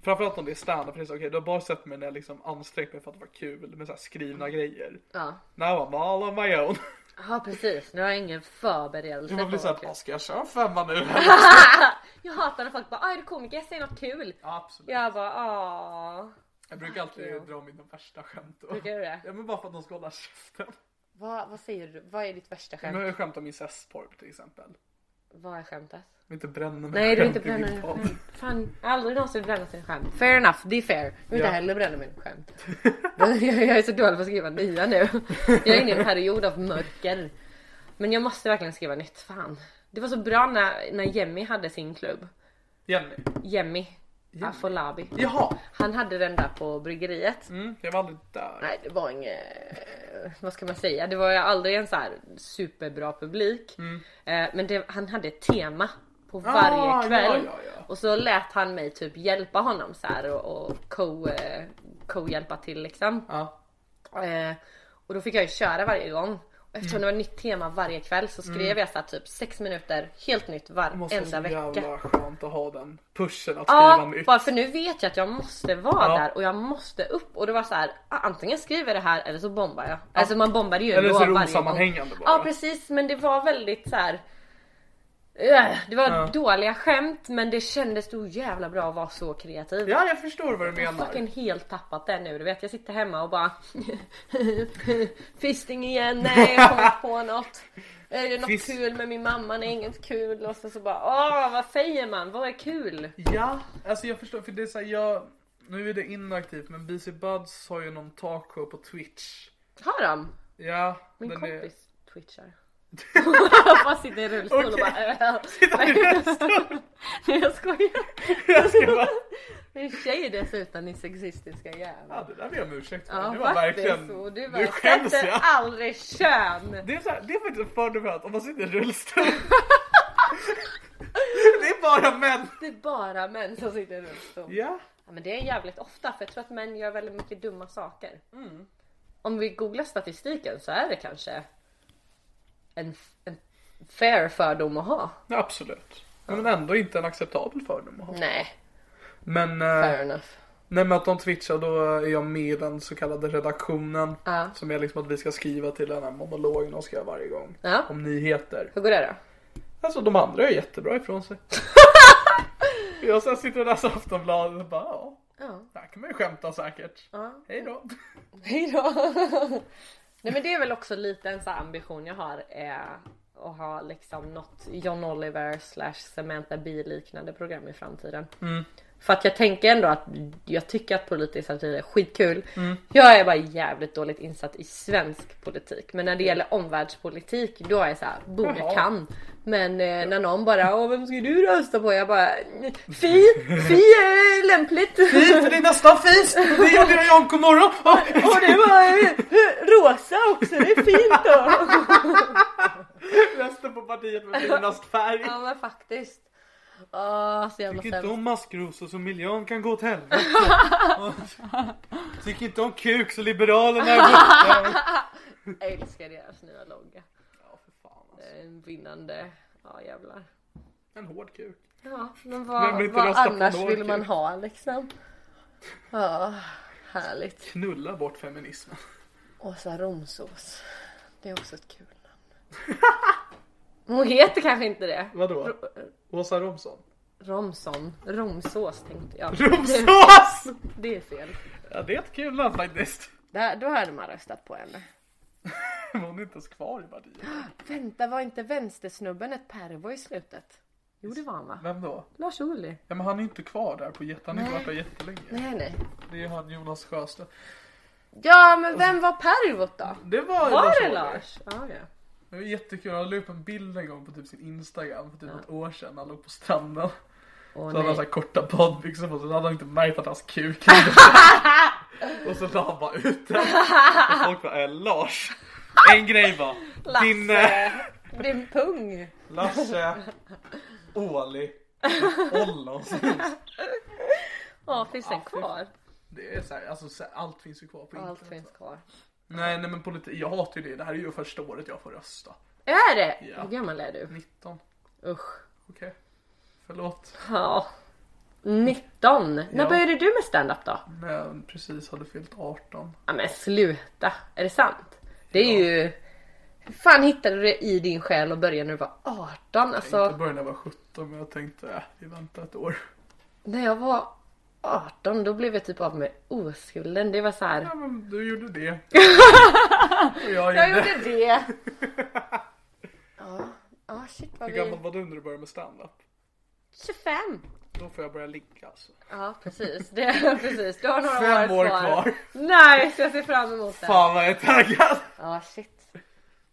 Speaker 3: Framförallt om det är standup. för det är så, Okej du har bara sett mig när jag liksom ansträngt mig för att vara kul med så här skrivna grejer.
Speaker 4: Mm. Ja.
Speaker 3: Now I'm all on my own.
Speaker 4: Ja precis, nu har jag ingen förberedelse.
Speaker 3: Så man blir
Speaker 4: på
Speaker 3: såhär,
Speaker 4: vad kul.
Speaker 3: "Ah, ska jag köra en femma nu?
Speaker 4: Jag hatar när folk bara "Ah, är du komiker? Jag säger något kul.
Speaker 3: Absolut.
Speaker 4: Jag bara ah.
Speaker 3: Jag brukar alltid dra mina värsta skämt. Då.
Speaker 4: Brukar du det?
Speaker 3: Ja men bara för att de ska hålla käften.
Speaker 4: Vad, vad säger du? Vad är ditt värsta
Speaker 3: Men
Speaker 4: skämt?
Speaker 3: jag har ju skämt om incestporr till exempel.
Speaker 4: Vad är skämtet?
Speaker 3: Jag vill inte bränna mig
Speaker 4: Nej du vill inte
Speaker 3: själv i
Speaker 4: bränna
Speaker 3: min
Speaker 4: dig
Speaker 3: podd.
Speaker 4: själv. Fan, aldrig någonsin bränna sin skämt. Fair enough, det är fair. Jag vill inte
Speaker 3: Ja.
Speaker 4: heller bränna min skämt. jag, jag är så dålig på att skriva nya nu. Jag är inne i en period av mörker. Men jag måste verkligen skriva nytt, fan. Det var så bra när, när Jemmy hade sin klubb.
Speaker 3: Jenny.
Speaker 4: Jemmy Afolabi.
Speaker 3: Jaha.
Speaker 4: Han hade den där på bryggeriet.
Speaker 3: Mm, jag var aldrig där.
Speaker 4: Nej det var inget, eh, vad ska man säga, det var ju aldrig en så här superbra publik.
Speaker 3: Mm.
Speaker 4: Eh, Men det, han hade ett tema på varje
Speaker 3: Ah, ja,
Speaker 4: kväll.
Speaker 3: ja, ja.
Speaker 4: Och så lät han mig typ hjälpa honom så här och, och co, eh, co-hjälpa till liksom.
Speaker 3: Ja.
Speaker 4: Eh, Och då fick jag ju köra varje gång. Och eftersom
Speaker 3: Mm.
Speaker 4: det var nytt tema varje kväll så skrev jag så här typ sex minuter helt nytt
Speaker 3: Det måste vara så
Speaker 4: varenda vecka.
Speaker 3: jävla skönt att ha den pushen att skriva
Speaker 4: Ja,
Speaker 3: nytt.
Speaker 4: bara för nu vet jag att jag måste vara
Speaker 3: Ja.
Speaker 4: där och jag måste upp och det var så här ah, antingen skriver jag det här eller så bombar jag. Alltså man bombar ju
Speaker 3: Eller så är det
Speaker 4: ändå varje
Speaker 3: osammanhängande
Speaker 4: gång.
Speaker 3: bara.
Speaker 4: Ja precis men det var väldigt så här. eh, Det var
Speaker 3: Ja.
Speaker 4: dåliga skämt men det kändes så jävla bra att vara så kreativ.
Speaker 3: Ja, jag förstår vad du
Speaker 4: Jag har
Speaker 3: menar.
Speaker 4: fucking helt tappat det nu du vet jag sitter hemma och bara Fisting igen, nej jag kommer inte på något Är det något
Speaker 3: Fist-
Speaker 4: kul med min mamma? Nej inget kul och så, så bara åh vad säger man? Vad är kul?
Speaker 3: Ja, alltså jag förstår. För det är så här, jag... Nu är det inaktivt men BC Buds har ju någon talkshow på Twitch.
Speaker 4: Har de?
Speaker 3: Ja.
Speaker 4: Min
Speaker 3: den är-
Speaker 4: kompis twitchar. Jag bara sitter i rullstol och bara äh.
Speaker 3: Sitter i rullstol?
Speaker 4: Nej jag skojar.
Speaker 3: Jag ska bara...
Speaker 4: Min tjej dessutom din sexistiska jävel.
Speaker 3: Ja, det där ber jag om ursäkt för.
Speaker 4: Ja
Speaker 3: det var
Speaker 4: faktiskt.
Speaker 3: verkligen...
Speaker 4: Och du
Speaker 3: nu
Speaker 4: bara
Speaker 3: skäms
Speaker 4: sätter
Speaker 3: jag.
Speaker 4: aldrig kön.
Speaker 3: Det är, så här, det är faktiskt en fördom att om man sitter i rullstol. det är bara män.
Speaker 4: Det är bara män som sitter i rullstol.
Speaker 3: Ja.
Speaker 4: Ja, men det är jävligt ofta för jag tror att män gör väldigt mycket dumma saker.
Speaker 3: Mm.
Speaker 4: Om vi googlar statistiken så är det kanske en, en fair fördom att ha.
Speaker 3: Absolut. Men ändå inte en acceptabel fördom att ha.
Speaker 4: Nej,
Speaker 3: Men, eh,
Speaker 4: fair enough.
Speaker 3: nej, men att de twitchar då är jag med i den så kallade redaktionen.
Speaker 4: Ja.
Speaker 3: Som är liksom att vi ska skriva till den här monologen de ska göra varje gång.
Speaker 4: Ja.
Speaker 3: Om nyheter.
Speaker 4: Hur går det då?
Speaker 3: Alltså de andra är jättebra ifrån sig. jag sen sitter och läser Aftonbladet och bara ja.
Speaker 4: Ja.
Speaker 3: Det här kan man ju skämta säkert. Hej då.
Speaker 4: Hej då! Nej men det är väl också lite en sån här ambition jag har. Eh, att ha liksom något John Oliver slash Samantha Bee liknande program i framtiden. För att jag tänker ändå att jag tycker att politisk satir är skitkul. Jag är bara jävligt dåligt insatt i svensk politik. Men när det gäller omvärldspolitik då är jag såhär, boom jag
Speaker 3: Jaha.
Speaker 4: kan. Men eh, när någon bara, Åh, vem ska du rösta på? Jag bara, fi, fi är lämpligt.
Speaker 3: för det är nästan fis. Det gjorde jag i AMK morgon.
Speaker 4: Och det var eh, rosa också, det är fint då.
Speaker 3: Resten på partiet med brunast färg.
Speaker 4: Ja men faktiskt. Åh så jävla
Speaker 3: Tycker inte
Speaker 4: sämst.
Speaker 3: om maskrosor så miljön kan gå åt helvete. Tycker inte om kuk så liberalerna är borta.
Speaker 4: Jag älskar deras nya logga.
Speaker 3: Ja, för fan
Speaker 4: Det
Speaker 3: alltså.
Speaker 4: är En vinnande. Ja jävlar.
Speaker 3: En hård kuk.
Speaker 4: Ja men
Speaker 3: Vem vill
Speaker 4: vad,
Speaker 3: inte
Speaker 4: vad
Speaker 3: rösta på
Speaker 4: annars
Speaker 3: Norge?
Speaker 4: vill man ha liksom? Ja härligt.
Speaker 3: Knulla bort feminismen.
Speaker 4: Åsa Romsås. Det är också ett kul namn. Hon heter kanske inte det.
Speaker 3: Vadå? Åsa Romson?
Speaker 4: Romson. Romsås tänkte jag.
Speaker 3: Romsås!
Speaker 4: Det är fel.
Speaker 3: Ja det är ett kul namn faktiskt.
Speaker 4: Där, då hade man röstat på henne.
Speaker 3: Hon är inte ens kvar i partiet.
Speaker 4: Vänta, var inte vänstersnubben ett pervo i slutet? Jo, det var han va?
Speaker 3: Vem då?
Speaker 4: Lars Ohly.
Speaker 3: Ja men han är inte kvar där på Jätte. Han har inte varit där jättelänge.
Speaker 4: Nej, nej.
Speaker 3: Det är han Jonas Sjöstedt.
Speaker 4: Ja, men vem var pervot då?
Speaker 3: Det var,
Speaker 4: Var det
Speaker 3: Ohly.
Speaker 4: Lars? Ja, ja.
Speaker 3: Det var jättekul. Han la upp en bild en gång på typ sin Instagram för typ ett år sedan. Han låg på stranden.
Speaker 4: Åh,
Speaker 3: Så hade han
Speaker 4: nej.
Speaker 3: så här korta badbyxor på sig, så hade han inte märkt att hans kuk Och så la han bara ut den. Och folk bara, eh, Lars. En grej bara. Din eh,
Speaker 4: Lasse. Din pung.
Speaker 3: Lasse. Åli. Ollonshus.
Speaker 4: Ja, finns den kvar?
Speaker 3: Det är så här, alltså så här, allt finns ju kvar på internet.
Speaker 4: Allt finns kvar.
Speaker 3: Nej, nej men politik, jag hatar ju det. Det här är ju första året jag får rösta.
Speaker 4: Är det?
Speaker 3: Ja.
Speaker 4: Hur gammal är du?
Speaker 3: 19,
Speaker 4: Usch.
Speaker 3: okej. Förlåt.
Speaker 4: Ja. 19. När
Speaker 3: Ja.
Speaker 4: började du med stand-up då?
Speaker 3: När jag precis hade fyllt 18.
Speaker 4: Ja men sluta, är det sant? Det är ju... Hur fan hittade du det i din själ och började när du var 18?
Speaker 3: Jag
Speaker 4: Alltså,
Speaker 3: började när jag var 17 men jag tänkte, äh, vi väntar ett år.
Speaker 4: när jag var 18 då blev jag typ av med oskulden. Det var så här.
Speaker 3: Ja men du gjorde det. Och
Speaker 4: Jag gjorde det! Ja, ja shit vad
Speaker 3: Hur
Speaker 4: vi...
Speaker 3: gammal var du när du började med standup?
Speaker 4: 25!
Speaker 3: Då får jag börja ligga alltså.
Speaker 4: Ja precis, det, precis. Du har några
Speaker 3: Fem
Speaker 4: år
Speaker 3: år
Speaker 4: kvar.
Speaker 3: kvar.
Speaker 4: Nice, jag ser fram emot det.
Speaker 3: Fan vad jag är taggad!
Speaker 4: Ja shit.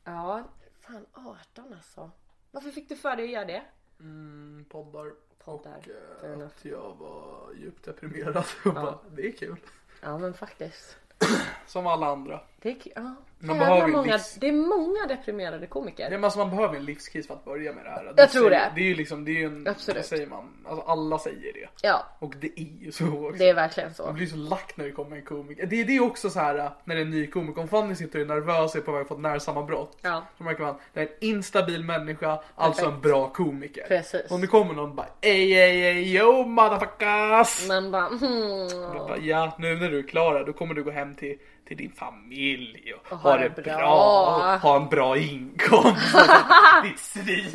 Speaker 4: Ja, fan 18 alltså. Varför fick du för dig att göra det?
Speaker 3: Mm, poddar.
Speaker 4: Poddar,
Speaker 3: Och
Speaker 4: fair
Speaker 3: eh,
Speaker 4: enough.
Speaker 3: att jag var djupt deprimerad och bara, det är kul.
Speaker 4: Ja men faktiskt.
Speaker 3: Som alla andra.
Speaker 4: Det är, k- ja.
Speaker 3: Man
Speaker 4: Jävla
Speaker 3: behöver ju
Speaker 4: många,
Speaker 3: livs-
Speaker 4: det är många deprimerade komiker.
Speaker 3: Ja, men alltså, man behöver en livskris för att börja med det här.
Speaker 4: Jag tror
Speaker 3: säger-
Speaker 4: det.
Speaker 3: Det är ju liksom, det är ju en,
Speaker 4: Absolut.
Speaker 3: vad säger man? Alltså alla säger det.
Speaker 4: Ja,
Speaker 3: Och det är ju så också.
Speaker 4: det är verkligen
Speaker 3: Man
Speaker 4: så.
Speaker 3: blir så lack när det kommer en komiker. Det, det är också så här äh, när en ny komiker, om Fanny sitter och är nervös och är på väg att få ett närsammanbrott.
Speaker 4: Ja.
Speaker 3: Så märker man, det är en instabil människa, alltså
Speaker 4: Perfekt.
Speaker 3: en bra komiker.
Speaker 4: Precis.
Speaker 3: Och nu kommer någon och bara ey ey ey yo motherfuckers.
Speaker 4: Man bara hmm,
Speaker 3: Jag Bara, ja, nu när du är klar här, då kommer du gå hem till, till din familj och,
Speaker 4: ha
Speaker 3: ha
Speaker 4: det
Speaker 3: det
Speaker 4: bra.
Speaker 3: bra. och ha en bra inkomst. Ditt svin.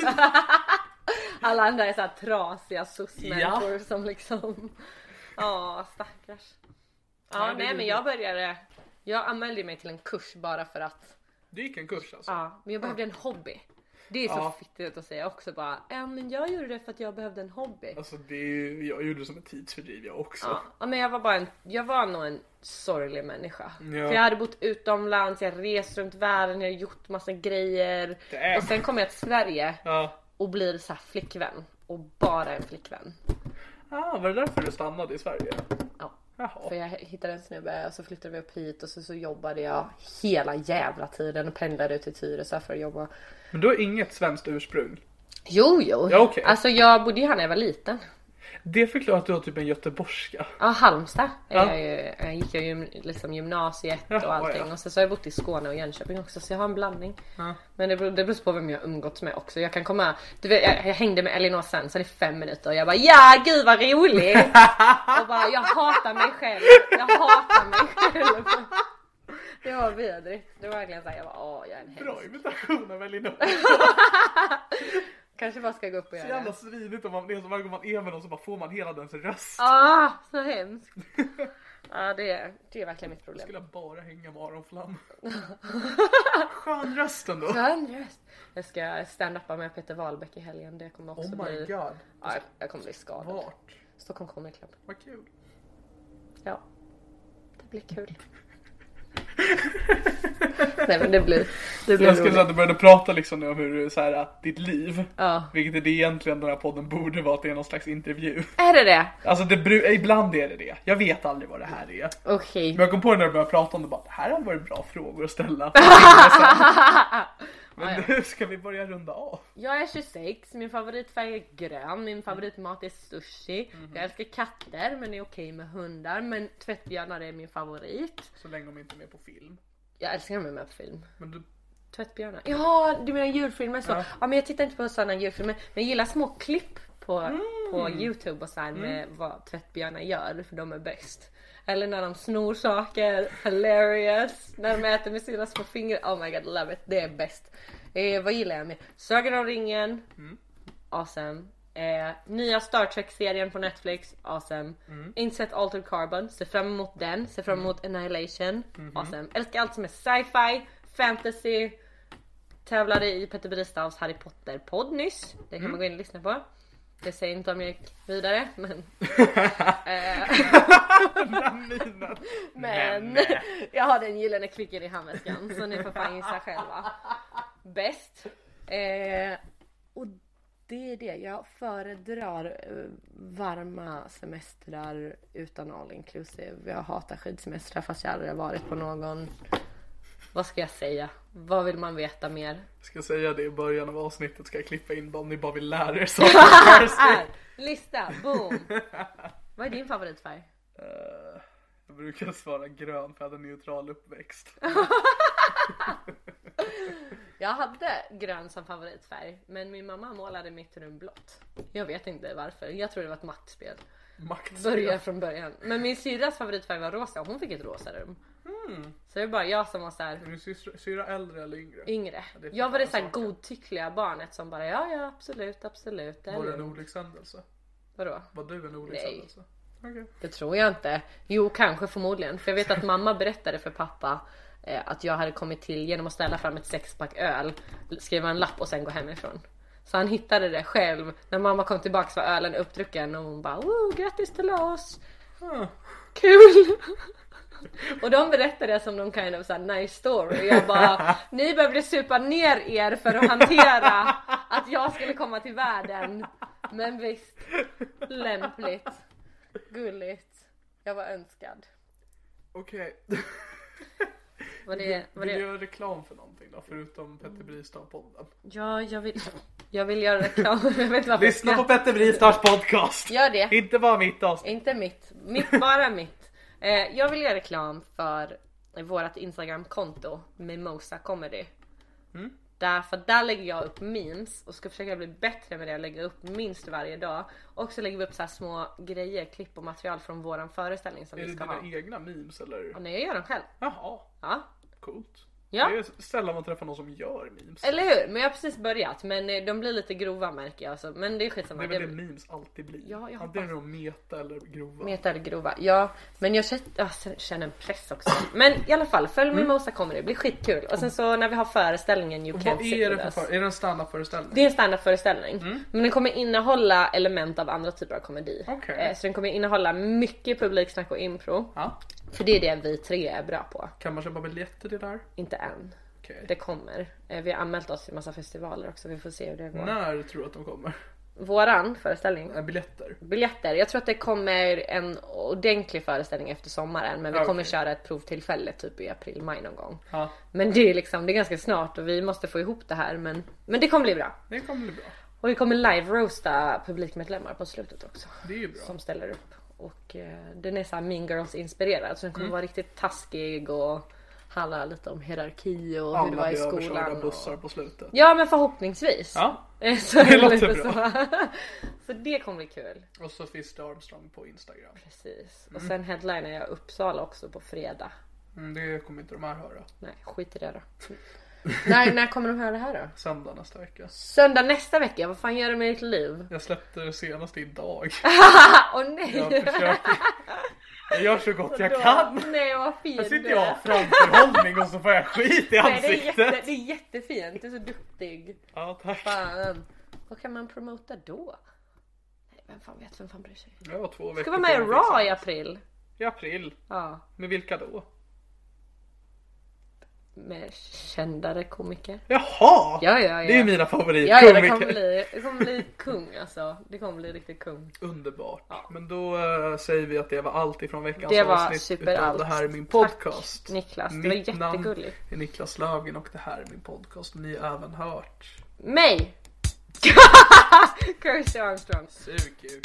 Speaker 4: alla andra är så här trasiga sussmänniskor
Speaker 3: Ja.
Speaker 4: som liksom... Ja, stackars. Ja,
Speaker 3: det
Speaker 4: nej
Speaker 3: är
Speaker 4: men
Speaker 3: det.
Speaker 4: jag började... Jag anmälde mig till en kurs bara för att...
Speaker 3: Du gick en kurs alltså?
Speaker 4: Ja, men jag behövde en hobby. Det är så
Speaker 3: Ja.
Speaker 4: fittigt att säga också bara. Ja, men jag gjorde det för att jag behövde en hobby.
Speaker 3: Alltså det är ju, jag gjorde det som ett tidsfördriv jag också.
Speaker 4: Ja, ja, men jag var bara en, jag var nog en sorglig människa.
Speaker 3: Ja.
Speaker 4: För jag hade bott utomlands, jag rest runt världen, jag har gjort massa grejer.
Speaker 3: Damn.
Speaker 4: Och sen kommer jag till Sverige
Speaker 3: Ja.
Speaker 4: och blir så här flickvän. Och bara en flickvän.
Speaker 3: Ah, var det därför du stannade i Sverige?
Speaker 4: Ja.
Speaker 3: Jaha.
Speaker 4: För jag hittade en snubbe och så flyttade vi upp hit och så, så jobbade jag hela jävla tiden och pendlade ut till Tyresö för att jobba.
Speaker 3: Men du har inget svenskt ursprung?
Speaker 4: Jo, jo.
Speaker 3: Ja, okej.
Speaker 4: Alltså jag bodde ju här när jag var liten.
Speaker 3: Det förklarar att du har typ en göteborgska.
Speaker 4: Ja, Halmstad är
Speaker 3: Ja.
Speaker 4: jag ju, jag gick jag ju liksom gymnasiet och
Speaker 3: Jaha,
Speaker 4: allting.
Speaker 3: ja.
Speaker 4: Och sen så har jag bott i Skåne och Jönköping också så jag har en blandning. Men det beror, det beror på vem jag umgåtts med också. Jag kan komma, du vet, jag, jag hängde med Elinor Svensson i fem minuter och jag bara ja gud vad roligt! och bara jag hatar mig själv, jag hatar mig själv. Det var vidrigt. Det var verkligen såhär jag bara åh jag är en
Speaker 3: Bra
Speaker 4: hemsk.
Speaker 3: imitation av Elinor.
Speaker 4: Kanske bara ska gå upp och
Speaker 3: Så
Speaker 4: göra
Speaker 3: jävla
Speaker 4: det.
Speaker 3: svinigt om man, det är som varje gång man är med någon så bara får man hela dens röst.
Speaker 4: Ah, så hemskt. Ja det, det är verkligen mitt problem.
Speaker 3: Jag skulle bara hänga med Aron Flam. Skön röst ändå.
Speaker 4: Skön röst. Ah, Jag ska stand-upa med Peter Wahlbeck i helgen. Det kommer också
Speaker 3: Oh
Speaker 4: bli...
Speaker 3: my god.
Speaker 4: Ja, jag- jag kommer bli skadad.
Speaker 3: Vart?
Speaker 4: Stockholm Comedy Club.
Speaker 3: Vad kul.
Speaker 4: Ja. Det blir kul. Nej men det blir... Det blir
Speaker 3: Jag skulle säga att
Speaker 4: roligt.
Speaker 3: du började prata liksom nu om hur du, så här, ditt liv.
Speaker 4: Ja.
Speaker 3: Vilket är det egentligen den här podden borde vara, att det är någon slags intervju.
Speaker 4: Är det det?
Speaker 3: Alltså det, bru- ibland är det det. Jag vet aldrig vad det här är.
Speaker 4: Okej.
Speaker 3: Men jag kom på det när du började prata om det bara, det här hade varit bra frågor att ställa.
Speaker 4: Ja,
Speaker 3: Men
Speaker 4: ja.
Speaker 3: nu ska vi börja runda av.
Speaker 4: Jag är 26, min favoritfärg är grön, min favoritmat är sushi.
Speaker 3: Mhm.
Speaker 4: Jag älskar katter men är okej med hundar. Men tvättbjörnar är min favorit.
Speaker 3: Så länge de inte är med på film.
Speaker 4: Jag älskar med med på film.
Speaker 3: Men du,
Speaker 4: Tvättbjörnar. Ja du menar julfilmer så. Ja. men jag tittar inte på sådana julfilmer. Men jag gillar små klipp på, på youtube och så här med vad tvättbjörnar gör för de är bäst. Eller när de snor saker, hilarious. När de äter med sina små fingrar. Oh my god love it, det är bäst. Eh, vad gillar jag mer? Sagan om ringen. Awesome. Eh, nya Star Trek-serien på Netflix, awesome. Inset Altered Carbon, ser fram emot den. Ser fram emot Annihilation, awesome. Älskar allt som är sci-fi, fantasy. Tävlade i Petter Bristavs Harry Potter-podd nyss. Det
Speaker 3: Mm.
Speaker 4: kan man gå in och lyssna på. Jag säger inte om jag gick vidare men...
Speaker 3: mina,
Speaker 4: men jag har den gyllene klicken i handväskan så ni får fan gissa själva. Bäst. Eh, och det är det. Jag föredrar eh, varma semestrar utan all inclusive. Jag hatar skidsemestrar fast jag aldrig har varit på någon. Vad ska jag säga? Vad vill man veta mer?
Speaker 3: ska säga det i början av avsnittet ska jag klippa in dem ni bara vill lära er saker.
Speaker 4: Här! Lista! Boom! Vad är din favoritfärg?
Speaker 3: Eh, Jag brukar svara grön för jag hade neutral uppväxt.
Speaker 4: Jag hade grön som favoritfärg men min mamma målade mitt rum blått. Jag vet inte varför. Jag tror det var ett maktspel. Börja
Speaker 3: Maktspel.
Speaker 4: från början. Men min syrras favoritfärg var rosa och hon fick ett rosa rum.
Speaker 3: Hmm.
Speaker 4: Så det är bara jag som var så här
Speaker 3: Är din syster- syra äldre eller yngre?
Speaker 4: yngre.
Speaker 3: Mm. det är
Speaker 4: jag var det så här
Speaker 3: saker.
Speaker 4: godtyckliga barnet som bara ja ja absolut absolut. det är
Speaker 3: Var det en
Speaker 4: lugnt."
Speaker 3: olyckshändelse?
Speaker 4: Vadå?
Speaker 3: Var du en olyckshändelse? Okej.
Speaker 4: Det tror jag inte. Jo kanske förmodligen. För jag vet att mamma berättade för pappa eh, att jag hade kommit till genom att ställa fram ett sexpack öl, skriva en lapp och sen gå hemifrån. Så han hittade det själv. När mamma kom tillbaks var ölen uppdrucken och hon bara oh, grattis till oss. Kul! Och de berättade det som någon kind of så här nice story. Jag bara, ni behövde supa ner er för att hantera att jag skulle komma till världen. Men visst, lämpligt, gulligt. Jag var önskad.
Speaker 3: Okej.
Speaker 4: Var det, var
Speaker 3: Vill du
Speaker 4: det...
Speaker 3: göra reklam för någonting då? Förutom Petter Bristav-podden.
Speaker 4: Ja, jag vill, jag vill göra reklam. Jag vet inte varför.
Speaker 3: Lyssna på Petter Bristavs podcast!
Speaker 4: Gör det.
Speaker 3: Inte bara mitt avsnitt.
Speaker 4: Inte mitt, mitt bara mitt. Eh, jag vill göra reklam för vårt instagramkonto Mimosa Comedy.
Speaker 3: Mm.
Speaker 4: Därför där lägger jag upp memes och ska försöka bli bättre med det och lägga upp minst varje dag. Och så lägger vi upp så här små grejer, klipp och material från våran föreställning som
Speaker 3: Är det
Speaker 4: vi ska
Speaker 3: dina
Speaker 4: ha.
Speaker 3: egna memes eller?
Speaker 4: Och nej, jag gör dem själv.
Speaker 3: Jaha,
Speaker 4: Ja.
Speaker 3: coolt.
Speaker 4: Ja.
Speaker 3: Det är sällan man träffar någon som gör memes.
Speaker 4: Eller hur? Men jag har precis börjat men eh, de blir lite grova märker jag. Så, men det är
Speaker 3: Det
Speaker 4: skitsamma.
Speaker 3: är väl
Speaker 4: Det-
Speaker 3: det memes alltid blir.
Speaker 4: Ja, jag
Speaker 3: Antingen är
Speaker 4: hoppas-
Speaker 3: de meta eller grova.
Speaker 4: Meta eller grova. Ja, men jag känner, jag känner en press också. Men i alla fall, följ med Mosa Comedy, det blir skitkul. Och sen så när vi har föreställningen You
Speaker 3: Och
Speaker 4: Can't
Speaker 3: Mm. Vad
Speaker 4: Sit
Speaker 3: är det
Speaker 4: With
Speaker 3: för
Speaker 4: Us.
Speaker 3: för... Mm. Är det en standup-föreställning?
Speaker 4: Det är en standardföreställning. Men den kommer innehålla element av andra typer av komedi.
Speaker 3: Okej.
Speaker 4: Eh, Så den kommer innehålla mycket publiksnack och impro.
Speaker 3: Ja.
Speaker 4: För det är det vi tre är bra på.
Speaker 3: Kan man köpa biljetter till det där?
Speaker 4: Inte än.
Speaker 3: Okej.
Speaker 4: Det kommer. Eh, Vi har anmält oss till massa festivaler också, vi får se hur det går.
Speaker 3: När tror du att de kommer?
Speaker 4: Våran föreställning
Speaker 3: Äh, biljetter?
Speaker 4: biljetter. Jag tror att det kommer en ordentlig föreställning efter sommaren men vi
Speaker 3: Ja,
Speaker 4: kommer
Speaker 3: okej.
Speaker 4: köra ett provtillfälle typ i april, maj någon gång.
Speaker 3: Ja.
Speaker 4: Men det är liksom, det är ganska snart och vi måste få ihop det här men, men det kommer bli bra.
Speaker 3: Det kommer bli bra.
Speaker 4: Och vi kommer live-roasta publikmedlemmar på slutet också.
Speaker 3: Det är ju bra.
Speaker 4: Som ställer upp. Och eh, den är såhär mean girls inspirerad så den kommer
Speaker 3: Mm.
Speaker 4: vara riktigt taskig och handla lite om hierarki och hur det var
Speaker 3: Alla
Speaker 4: i
Speaker 3: blir överkörda
Speaker 4: skolan.
Speaker 3: av
Speaker 4: och-
Speaker 3: bussar på slutet.
Speaker 4: Ja men förhoppningsvis.
Speaker 3: Ja.
Speaker 4: Så, det
Speaker 3: låter
Speaker 4: lite
Speaker 3: bra.
Speaker 4: Så. så det kommer bli kul.
Speaker 3: Och så finns det Armstrong på Instagram.
Speaker 4: Precis. Och sen headlinar jag Uppsala också på fredag.
Speaker 3: Mm, det kommer inte de här höra.
Speaker 4: Nej, skit i det då.
Speaker 3: Mm.
Speaker 4: när, när kommer de höra det här då?
Speaker 3: Söndag nästa vecka.
Speaker 4: Söndag nästa vecka, vad fan gör du med ditt liv? Ah,
Speaker 3: Jag släppte det senast idag.
Speaker 4: Åh nej!
Speaker 3: Jag försöker. Jag gör så gott jag kan.
Speaker 4: Nej vad fint
Speaker 3: Här sitter
Speaker 4: du är.
Speaker 3: jag och har framförhållning och så får jag skit i
Speaker 4: Nej, det, är jätte,
Speaker 3: ansiktet.
Speaker 4: det är jättefint, du är så duktig.
Speaker 3: Ja tack.
Speaker 4: Fan. Vad kan man promota då? Nej, vem fan vet, vem fan bryr sig?
Speaker 3: Jag har två veckor liksom.
Speaker 4: Ska vara med i
Speaker 3: på mig att fixa.
Speaker 4: Raw i april.
Speaker 3: I april.
Speaker 4: Ja.
Speaker 3: Med vilka då?
Speaker 4: med kändare komiker.
Speaker 3: Jaha!
Speaker 4: Ja, ja, ja.
Speaker 3: Det är mina
Speaker 4: Ja, ja, det
Speaker 3: favoritkomiker.
Speaker 4: kommer bli, det kommer bli kung alltså. Det kommer bli riktigt kung.
Speaker 3: Underbart. Men då eh, säger vi att det var allt ifrån veckans
Speaker 4: Det var
Speaker 3: avsnitt
Speaker 4: superallt.
Speaker 3: utav Det här är min podcast.
Speaker 4: Tack, Niklas. Det var
Speaker 3: Mitt namn
Speaker 4: jättegulligt.
Speaker 3: är Niklas Löfgren och det här är min podcast. Ni har även hört.
Speaker 4: Mig! Kirsty Armstrong.
Speaker 3: Sugkuk.